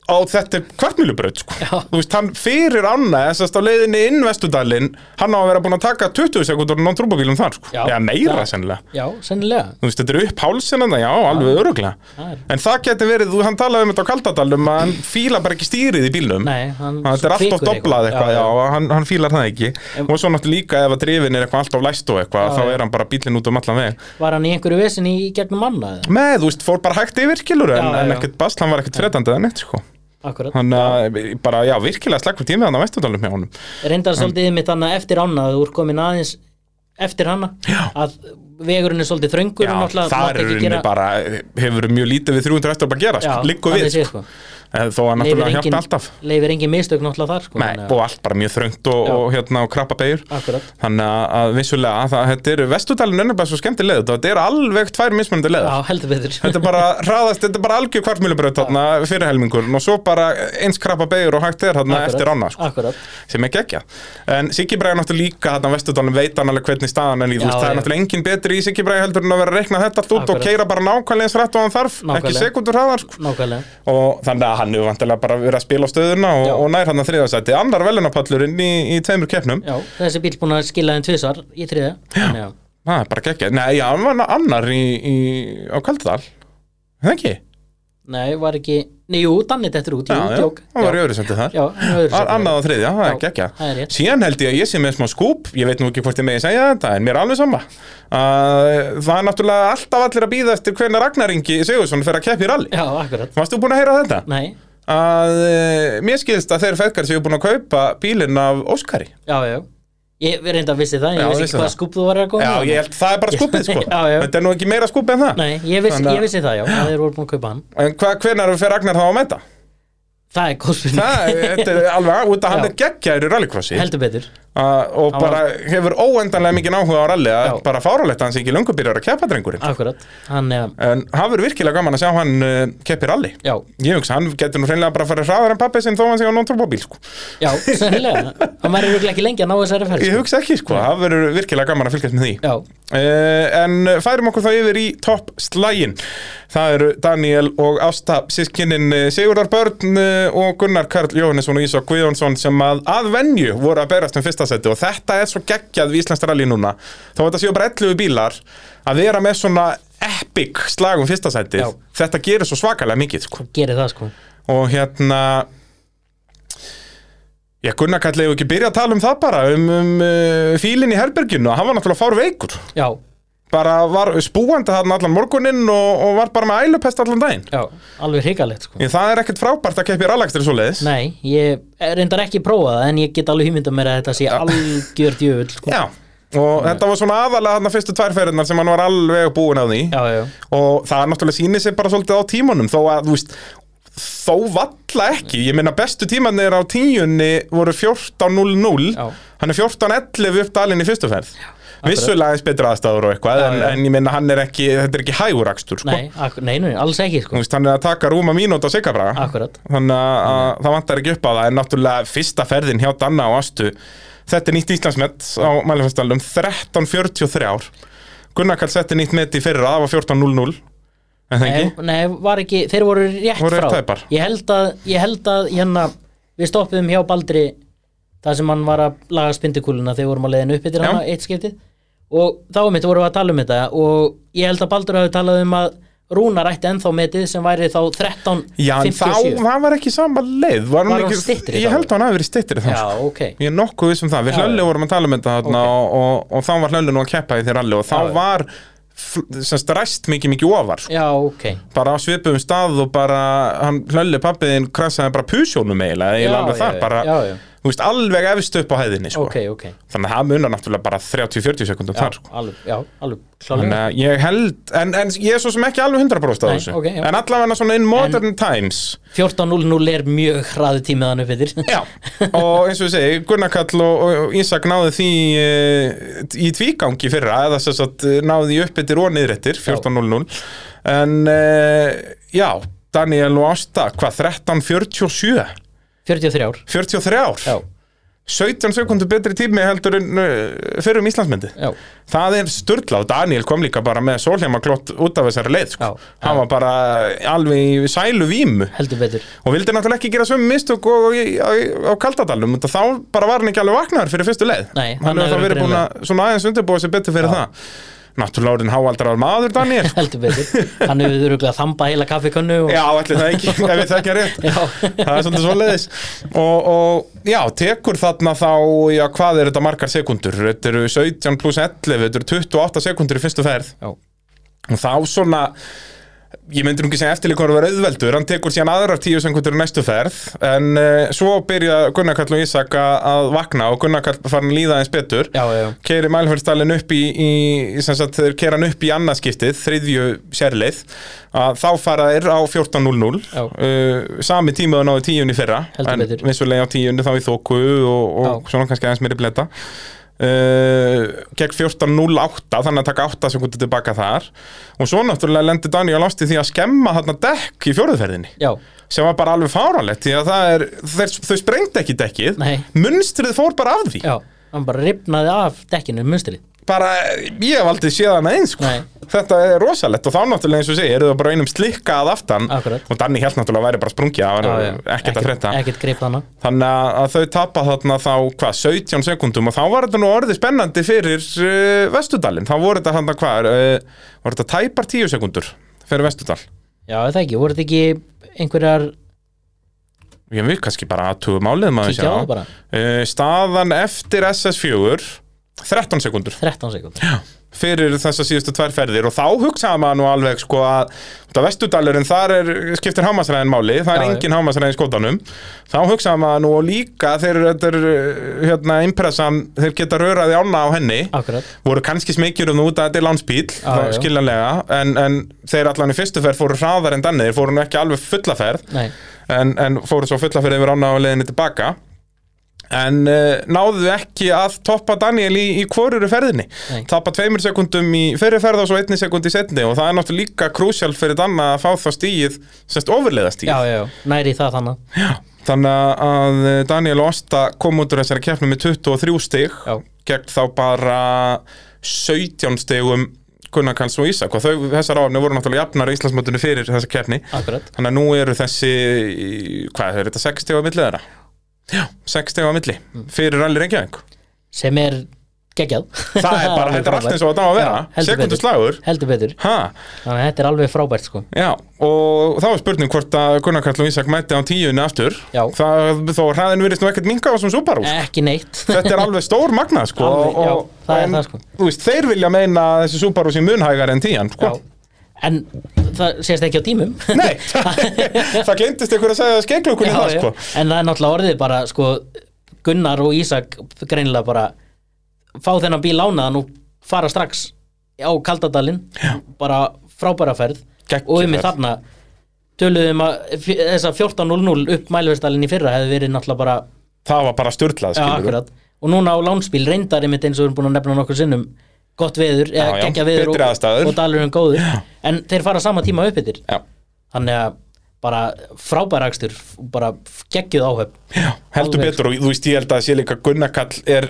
á þetta kvartmjölubraut sko.
Já.
þú veist, hann fyrir anna þessast á leiðinni inn Vestudalinn hann á að vera búin að taka 20 sekundur á trúbabílum þar, sko.
Já.
eða meira
Já.
sennilega
já, sennilega
þú veist, þetta er upp hálsinna, já, alveg öruglega
Það er-
en það geti verið, þú, hann talaði um þetta á Kaldadalum að hann fíla bara ekki stýrið í bílnum
Nei, hann
Hann- þetta er allt of
kvikur
doblað eitthvað, já, hann, hann fílar það ekki
En-
og svo náttúrulega líka ef að drifin er eitthvað allt of læst og eitthvað,
Já,
þá
já.
er hann bara bílinn út um allan veg
Var hann í einhverju vesin í gegnum manna eða?
með, þú veist, fór bara hægt yfir kilur en,
Já, já,
en
já.
ekkert basl, hann var ekkert fredandi eða neitt, sko
Akkurat
hann uh, bara, já, virkilega slakkur tími hann á Vesturdalum hjá honum
reyndar svolítið mitt annað eftir ána að þú er komin aðeins eftir hana já. að vegurinn er svolítið þröngur
já,
og náttúrulega
það
mátt
er
ekki
rauninni bara, hefur mjög lítið við 300 eftir að gera, sko,
Já,
liggur
þannig
við
séð,
sko. en þó að náttúrulega
engin-
hjálpa alltaf
leifir engin mistök náttúrulega þar sko,
Nei,
þannig að-
og allt bara mjög þröngt og,
Já.
og hérna og krabba beigur
Akkurat.
þannig að, að vissulega, að það, þetta eru Vesturdalinn er bara svo skemmtileg, þetta eru alveg tvær mismunandi leður
Já, heldur betur
þetta er bara hraðast, þetta er bara algjör kvartmjölubröð þarna fyrir helmingurinn og svo bara eins krabba beigur og hægt er
[laughs]
þarna
Akkurat,
eftir ána sko.
Akkurat,
sem er geggja en Siggi Bræði náttúrulega líka þarna á Vesturdalum veit hann alveg hvernig staðan er í, þú
Já,
veist, það er
já.
náttúrulega engin betri í Siggi Bræði heldur en að vera að rekna þetta allt út og
Akkurat.
keira bara nákvæmlega eins rætt og hann þarf ekki
Nákvæmlega.
sekundur hraðar sko.
nákvæmlega
og þannig að hann hefur vantilega bara verið að spila á stöðuna og,
Já.
og nær hann að þriðasæti annar velunapallurinn í, í tveimur keppnum
Já, þessi bíl búin að skila þeim tvisar í þriða Þannig að-
það er bara geggja, nei, já, hann var annar í, í, á Kaldadal það ekki?
Nei, var ekki Nei, jú, Danni þetta er út, jú,
Já, já,
djók
hann var í öðru sendi þar
Já, hann var í öðru sæti.
annað og þriðja, það er
Já,
geggja
það er rétt.
síðan held ég að ég sé með smá skúp ég veit nú ekki hvort ég megi segja þetta, en mér er alveg sama uh, það er náttúrulega alltaf allir að býða eftir hvernig Ragnar Ingi Sigursson fer að keppa í rally
Já, akkurat
varst þú búin að heyra þetta?
Nei,
að uh, mér skilst að þeir feðgar séu búin að kaupa bílinn af Óskari
já, já Ég reynda að vissi það, ég
Já, vissi
vissi ekki hvað
það.
skúb þú var að koma
já,
með.
ég held, það er bara skúpið sko
[laughs] Já, já.
þetta er nú ekki meira skúpið en það
Nei, ég vissi,
Þannig að-
ég vissi það, já, að þeir voru búin að kaupa hann
en hva, hvenar fer Ragnar þá að mæta?
Það er góðspunni,
það er- þetta er alveg, út að hann
Já.
er geggjær í rallycrossi
heldur betur
Uh, og
Hann
bara hefur óendanlega mikið áhuga á rally að
Já.
bara fáralegt að hann sé ekki lungu byrjar að keppa drengurinn
Akkurat, hann, eh,
en hann verður virkilega gaman að sjá hann uh, keppi rally
já,
ég hugsa, hann getur nú hreinlega bara að fara hraðar en pappi sinn þó hann sé á non-turbóbíl sko.
já, sennilega Hann væri örugglega ekki lengi að ná þessari ferð
ég
sko.
hugsa ekki, sko, hann verður virkilega gaman að fylgjast með því
Já,
uh, en færum okkur þá yfir í topp slægin það eru Daniel og Ásta sískinnin Sigurðar Börn eh, og Gunnar Karl Jóhannesson og Ísak Guðjónsson sem að að venju voru að berast um fyrsta seti og þetta er svo geggjað við Íslands rally núna þá þetta séu bara 11 bílar að vera með svona epic slag um fyrsta setið
Já.
þetta gerir svo svakalega mikið sko.
gerir það sko
og hérna Já, Gunnar Karl hefur ekki byrjað að tala um það bara, um, um uh, fílinn í herberginu, hann var náttúrulega fár veikur
Já,
bara var spúandi þarna allan morguninn og, og var bara með ælupest allan daginn
já, alveg hrikalegt sko
Ég, það er ekkert frábært að keppi rallakstri svo leiðis
Nei, ég reyndar ekki prófa það en ég get alveg hýmynda mér að þetta sé algjört jöfull sko.
Já, og þetta var svona aðalega þarna fyrstu tværferinnar sem hann var alveg búin að því
já, já,
og það náttúrulega sýnir sig bara svolítið á tímanum þó að, þú veist, þó valla ekki ég meina bestu tímanir á tíunni voru 14.00
Já.
hann er 14.11 upp dalinn í fyrstu ferð vissulega eins betra aðstæður og eitthvað
Já,
en,
já.
en ég meina hann er ekki, þetta er ekki hægurakstur sko.
nei, ak- nei, nei, alls ekki
Þú
sko.
veist, hann er að taka rúma mínúta á sigabraga
Akkurat,
þannig að, að það vantar ekki upp á það en náttúrulega fyrsta ferðin hjá Danna og Astu þetta er nýtt Íslandsmet á mælifestalum 13.43 ár Gunnar Karl setti nýtt met í fyrra það var 14.00 en það
nei,
ekki?
nei, var ekki þeir voru rétt
Voru rétt
frá
tæpar.
ég held, að, ég held að hérna við stoppuðum hjá Baldri það sem hann var að laga spindikúluna þegar við vorum að leiðinu upp yfir
Já.
hana, eitt skiptið og þá um þetta vorum við að tala um þetta og ég held að Baldur hafi talað um að Rúnar ætti ennþá metið sem væri þá 13,
Já, en þá
57
það var ekki sama leið Var,
Var
ekki,
hún styttri
Ég
þá?
held að hann hafi verið styttri þá
Já,
sko.
ok
Ég er nokkuð vissum það, við
Já,
hlöllu
já.
vorum að tala um þetta þarna
Ok.
og, og, og þá var hlöllu nú að keppa í þér allir og þá
Já, já.
var fl- semst ræst mikið mikið ofar sko.
Já, ok
bara á svipum stað og bara hann hlöllu pappiðin krasaði bara pusjónum eiginlega,
Já,
eiginlega alveg
já,
þar
já,
bara,
já, já.
þú veist, alveg efst upp á hæðinni sko.
Ok, ok
þannig að það munar náttúrulega bara 30-40 sekundum
Já,
þar sko.
alveg, já, alveg
Þannig
klálega
að ég held, en, en ég er svo sem ekki alveg 100% á
Nei,
þessu
ok, já.
En allavega svona in modern times
14.00 er mjög hraðu tímiðan upp yfir
Já, og eins og ég segi, Gunnar Kall og, og Ísak náðu því e, í tvígangi fyrra eða þess að náðu því uppbyttir og niðrettir 14.00 En e, já, Daniel og Ásta, hvað, 13.47?
43 ár
43 ár?
Já,
17 sekundur betri tími heldur en uh, fyrir um Íslandsmyndi
Já.
það er sturla og Daniel kom líka bara með sólheimaklott út af þessari leið sko.
Já.
hann var bara alveg í sælu vímu
heldur betur
og vildi náttúrulega ekki gera sömu mistök og, og, og, á Kaldadalum og þá bara var hann ekki alveg vaknaður fyrir fyrstu leið
Nei, hann
hann hefur
hefur
þá verið búin
greinilega-
að svona aðeins undirbúa sér betur fyrir það náttúrulega orðin háaldrar maður Daniel
Heldur betur Hann hefur þurruglega þamba heila kaffikönnu og...
[laughs] Já, allir það ekki, [laughs] ef við þekkja rétt
Já.
Það er svolítið svoleiðis og, og já, tekur þarna þá já, hvað er þetta margar sekundur þetta eru 17 pluss 11, þetta eru 28 sekundur í fyrstu ferð
Já.
og þá svona ég myndir nú ekki segja eftirleikur að vera auðveldur hann tekur síðan aðrar 10 sekundur í næstu ferð en uh, svo byrja Gunnar Karl og Ísak að- að vakna og Gunnar Karl farin að líða eins betur
Já, já,
keiri mælhörnstallin upp í, í sem sagt, þeir keira hann upp í annarskiptið þriðju sérleið að þá fara þeir á 14.00
Já.
uh, sami tíma og náðu tíunni fyrra
Heldur
en
betur.
vissulega á tíunni þá í þóku og, og
Já.
svona kannski aðeins meiri bleta Uh, gegn 14.08 þannig að taka 8 sekundi tilbaka þar og svo náttúrulega lendir Daniel Ásti því að skemma þarna dekk í fjóruðferðinni
já,
sem var bara alveg fáránlegt því að það er, þeir, þau sprengdi ekki dekkið
Nei.
munstrið fór bara af því
já Hann bara ripnaði af dekkinu munstrið
bara, ég hef aldrei séð hana eins sko.
Nei.
þetta er rosalegt og þá náttúrulega eins og segir, eru það bara einum slikka að aftan
Akkurat.
og Danni held náttúrulega að væri bara sprungið það var ekkert að frétta
Ekkert greip þannig
þannig að- að þau tapa þarna þá hvað, 17 sekundum og þá var þetta nú orðið spennandi fyrir uh, Vestudalin, þá voru þetta hann hvað uh, voru þetta tæpar 10 sekundur fyrir Vestudal,
Já, er það ekki, voru þetta ekki einhverjar
ég við kannski bara aðtuga málið maður
Kíkja á það bara.
uh, staðan eftir SS4 13 sekundur
13 sekund
fyrir þessa síðustu tvær ferðir og þá hugsaði maður nú alveg sko að þetta vestudalurinn þar er, skiptir hámasræðin máli, það er
Já, já.
engin hámasræðin skótanum þá hugsaði maður nú og líka þeir þetta er hérna impressan þeir geta röraði ána á henni
Akkurat,
voru kannski smekjur um það út að þetta er lánspíl
já.
skiljanlega, en, en þeir allan í fyrstu ferð fóru hraðar en danni, þeir fóru nú ekki alveg fulla ferð
nei,
en, en fóru svo fulla fyrir yfir ána á leiðinni tilbaka en uh, náðu ekki að toppa Daniel í, í hvoruru ferðinni
Nei.
tappa tveimur sekundum í fyrir ferð og svo einni sekund í setni og það er náttúrulega líka krúsjálf fyrir Danna að fá þá stíð semst ofurleiða
já,
stíð
já, já, næri það þannig
þannig að eh, Daniel og Ásta kom út úr þessari keppni með 23 stig
Já.
gegn þá bara 17 stigum Gunnar Karls og Ísak og þau, þessar áfni voru náttúrulega jafnar í Íslandsmótinu fyrir þessa keppni
Akkurat,
Þannig að nú eru þessi, hvað er þetta, 6 stegu á milli þeirra? Já, 6 stegu á milli,
Mm.
fyrir allir
[laughs]
Reykjavík.
sem er geggjað
Það er
[laughs]
bara, þetta er allt eins og þetta á að vera,
Já, heldur
sekundu
betur.
slagur.
Heldur betur,
Ha,
þannig að þetta er alveg frábært sko
já, og þá er spurning hvort að Gunnar Karl og Ísak mæti á tíunni aftur.
Já.
Það, þó hraðin virðist nú ekkert minga á þessum súparú.
Ekki neitt
Þetta er alveg stór magna, sko.
Alveg, já,
og-
það er
en,
það, sko.
Þú veist, þeir vilja meina að þessi súparú sem munhægar en tían, sko.
Já, en það sést ekki á tímum
[laughs] Nei, það glemtist ykkur að segja skeglukunni það, sko.
En það er náttúrulega orðið bara sko, Gunnar og Ísak greinilega bara fá þennan bíl lánaðan og fara strax á Kaldadalinn bara frábæra ferð
Geggjuð
og um
ferð.
þarna töluðum að f- þessa 14.00 upp mælverðstalinn í fyrra hefði verið náttúrulega bara
Það var bara styrlað,
já,
skilur
akkurat, og núna á lánspíl reyndar einmitt eins og við erum búin að nefna nokkur sinnum gott veður, eða
Já, já,
geggja veður
betri
og,
aðstæður.
og dalurinn góður en þeir fara sama tíma upp yfir
Já.
þannig að bara frábærakstur bara geggjuð áhöfn
Já, heldur
Alveg.
betur og þú veist ég held að sé líka Gunnar Kall er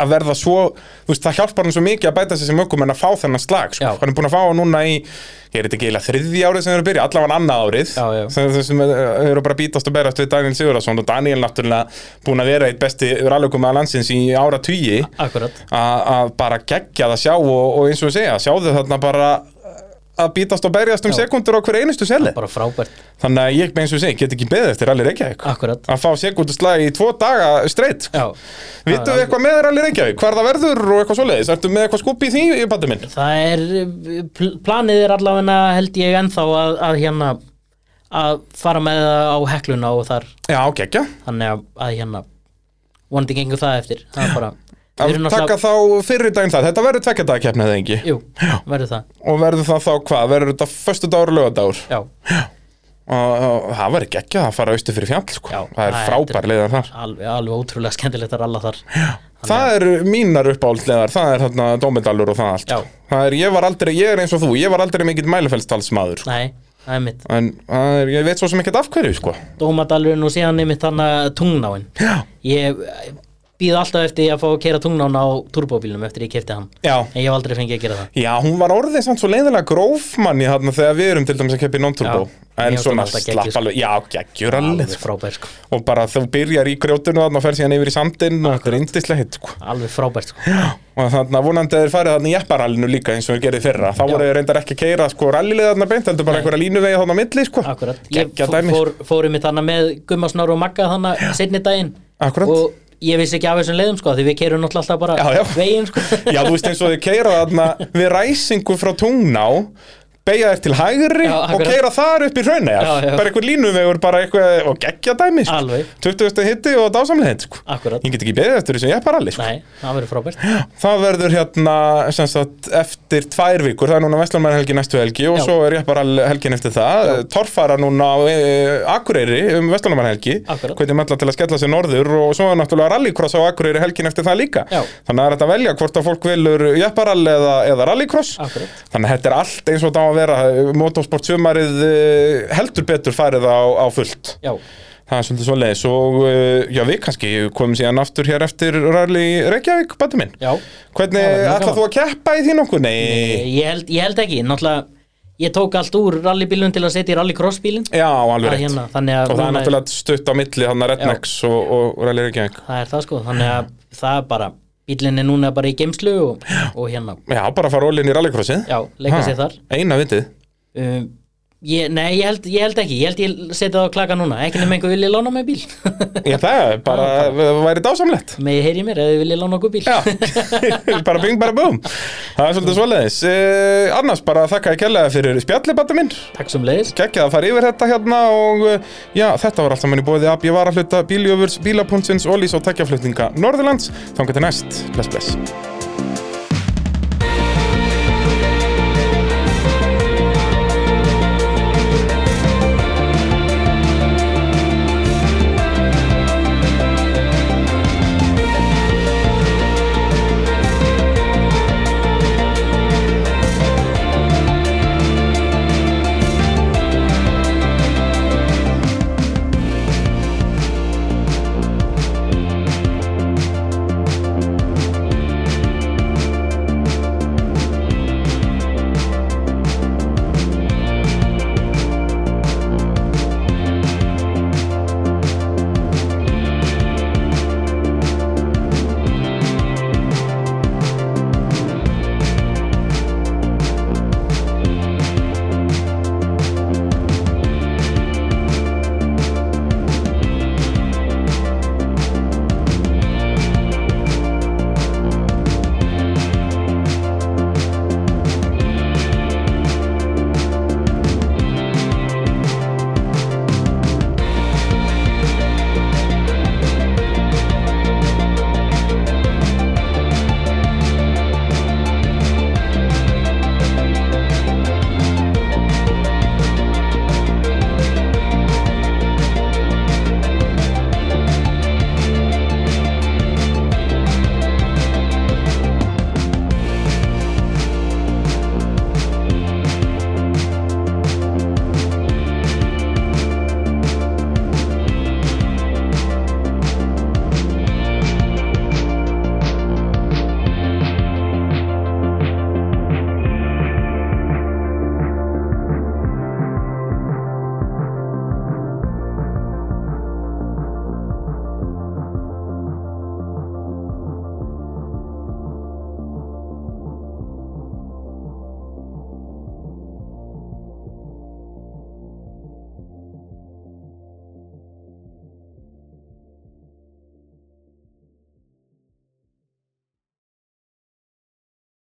að verða svo, þú veist, það hjálpar hann svo mikið að bæta sér sem ökum en að fá þennan slag sko.
Já.
hann er búin að fá hann núna í, ég er þetta ekki eiginlega þriðja árið sem þeir eru að byrja, allavega annað árið
Já, já.
sem þeir sem eru bara að bítast og berast við Daniel Sigurðarsson og Daniel náttúrulega búin að vera eitt besti rallökum að landsins í ára tugi
akkurat
að bara gegja það sjá og, og eins og við segja, sjáðu þarna bara að bítast og berjast um
Já.
sekundur á hver einustu seli
bara frábært,
þannig að ég eins og við segja, get ekki beðið eftir allir Reykjavík
akkurat
að fá sekundur í tvo daga streitt
já,
Vittu við eitthvað með þér allir Reykjavík? Hvar það verður og eitthvað svoleiðis? Ertu með eitthvað skúpi í því, patti minn?
það er eh, pl- planið er allavega held ég ennþá að, að hérna að fara með það á hekluna og þar
Já, geggja.
þannig að, að hérna vonandi gengur það eftir það er bara, við
Að
erum
taka
náttúrulega
þá fyrir daginn það. Þetta verður tveggjadagkeppnið eða engi.
jú, verður það,
Og verður það þá hvað? Verður þetta föstudagur og lögadagur?
já,
Og og það verður geggjað að fara austur fyrir fjall, sko.
Já,
það er
það er-
frábær leiðar þar.
alveg, alveg ótrúlega skemmtilegt að ralla þar
Það eru mínar uppáhaldsleðar, það er þarna Dómedalur og það allt.
Já.
Það er, ég var aldrei, ég er eins og þú, ég var aldrei mikill mælefellstalsmaður. sko.
nei, það er mitt
En það er, ég veit svo sem ekkert af hverju, sko.
dómadalurinn og síðan er mitt þannig að tungnáin
Já.
ég býð alltaf eftir að fá að kera tungnána á turbóbílnum eftir ég kefti hann
Já.
en ég hef aldrei fengið að gera það
Já, hún var orðið samt svo leiðilega grófmanni þarna þegar við erum til dæmis að keppi non-turbo
Já,
en
mér finnst
svona
hún alltaf
slapp
geggjuð, sko.
alveg, já, geggjur alveg
alveg
sko.
frábært sko,
og bara þú byrjar í grjótinu þarna og fer síðan yfir í sandinn og þetta er indislegt sko.
alveg frábært sko
og þarna vonandi að þeir farið þarna í jepparallinu líka eins og við gerði fyrra, þá
Já.
voru þeir reyndar ekki að keira sko rallilegarna beint, heldur bara einhverja línuvegi þarna á milli sko,
Akkurat, ég
geggja
fó-
dæmi sko.
fór, fór mitt þannig með Gummarsnár og Magga þannig setni daginn
Akkurat.
og ég vissi ekki af þessum leiðum sko því við keirum náttúrulega alltaf bara
Já, já.
veginn
[laughs]
sko
Já, þú veist eins og þau keira þarna við ræsingu frá tungná beigja þér til hægri
Já,
og
akkurat.
keira þar upp í hraunæjar
Já, já.
bara einhver línuvegur, bara eitthvað og geggja dæmi, sko.
Alveg.
20. hitti og dásamlegin, sko
Akkurat,
Ég get ekki beðið eftir þessu jepparalli sko.
nei, það verður frábært
Það verður hérna sem sagt, eftir tvær vikur Það er núna Vestlandmæðarhelgi næstu helgi Og
Já.
svo er jepparall helgin eftir það Já. Torfara núna á e, Akureyri um Vestlandmæðarhelgi
Akkurat.
Hvernig mella til að skella sér norður Og svo er náttúrulega rallycross á Akureyri helgin eftir það líka
Já.
Þannig að er þetta að velja hvort að fólk velur jepparall eða, eða rallycross
Akkurat.
Þannig að þetta er allt eins og þetta á að vera eh, Motorsport sumarið eh, heldur betur farið á, á fullt
Já,
Það er svolítið svoleiðis og uh, já, við kannski komum síðan aftur hér eftir Rally Reykjavík, bæti minn.
já
Hvernig,
Já, já,
ætlað
já.
þú að keppa í því nokkuð? Nei.
ég held, ég held ekki, náttúrulega ég tók allt úr rallybílun til að setja í rallycrossbílin
Já, alveg
Það
rétt.
hérna, þannig að
og það er
núna-
náttúrulega stutt á milli hann að Rednex og, og Rally Reykjavík.
það er það sko, þannig að það er bara bílinn er núna bara í geimslu og, og hérna,
Já, bara að fara ólinn í rallycrossið.
já, leika sér þar
Eina vitið.
um, ég, Nei, ég held, ég held ekki, ég held ég setja það á klaka núna ekki nema einhver vilja lána mig bíl [laughs]
Ég það, er bara,
Ah,
væri dásamlegt.
með ég heyri mér eða vilja lána okkur bíl
Já,
[laughs]
bara bing, bara búm. Það er svolítið svoleiðis. Uh, annars bara þakka ég kærlega fyrir spjalli, bæti minn.
Takk sem leiðis
geggjað að fara yfir þetta hérna og uh, já, þetta var allt saman í bóði að ég var að hluta bíljöfurs, bílapunnsins, ólís og tekjaflutninga Norðurlands, þangar til næst, bless bless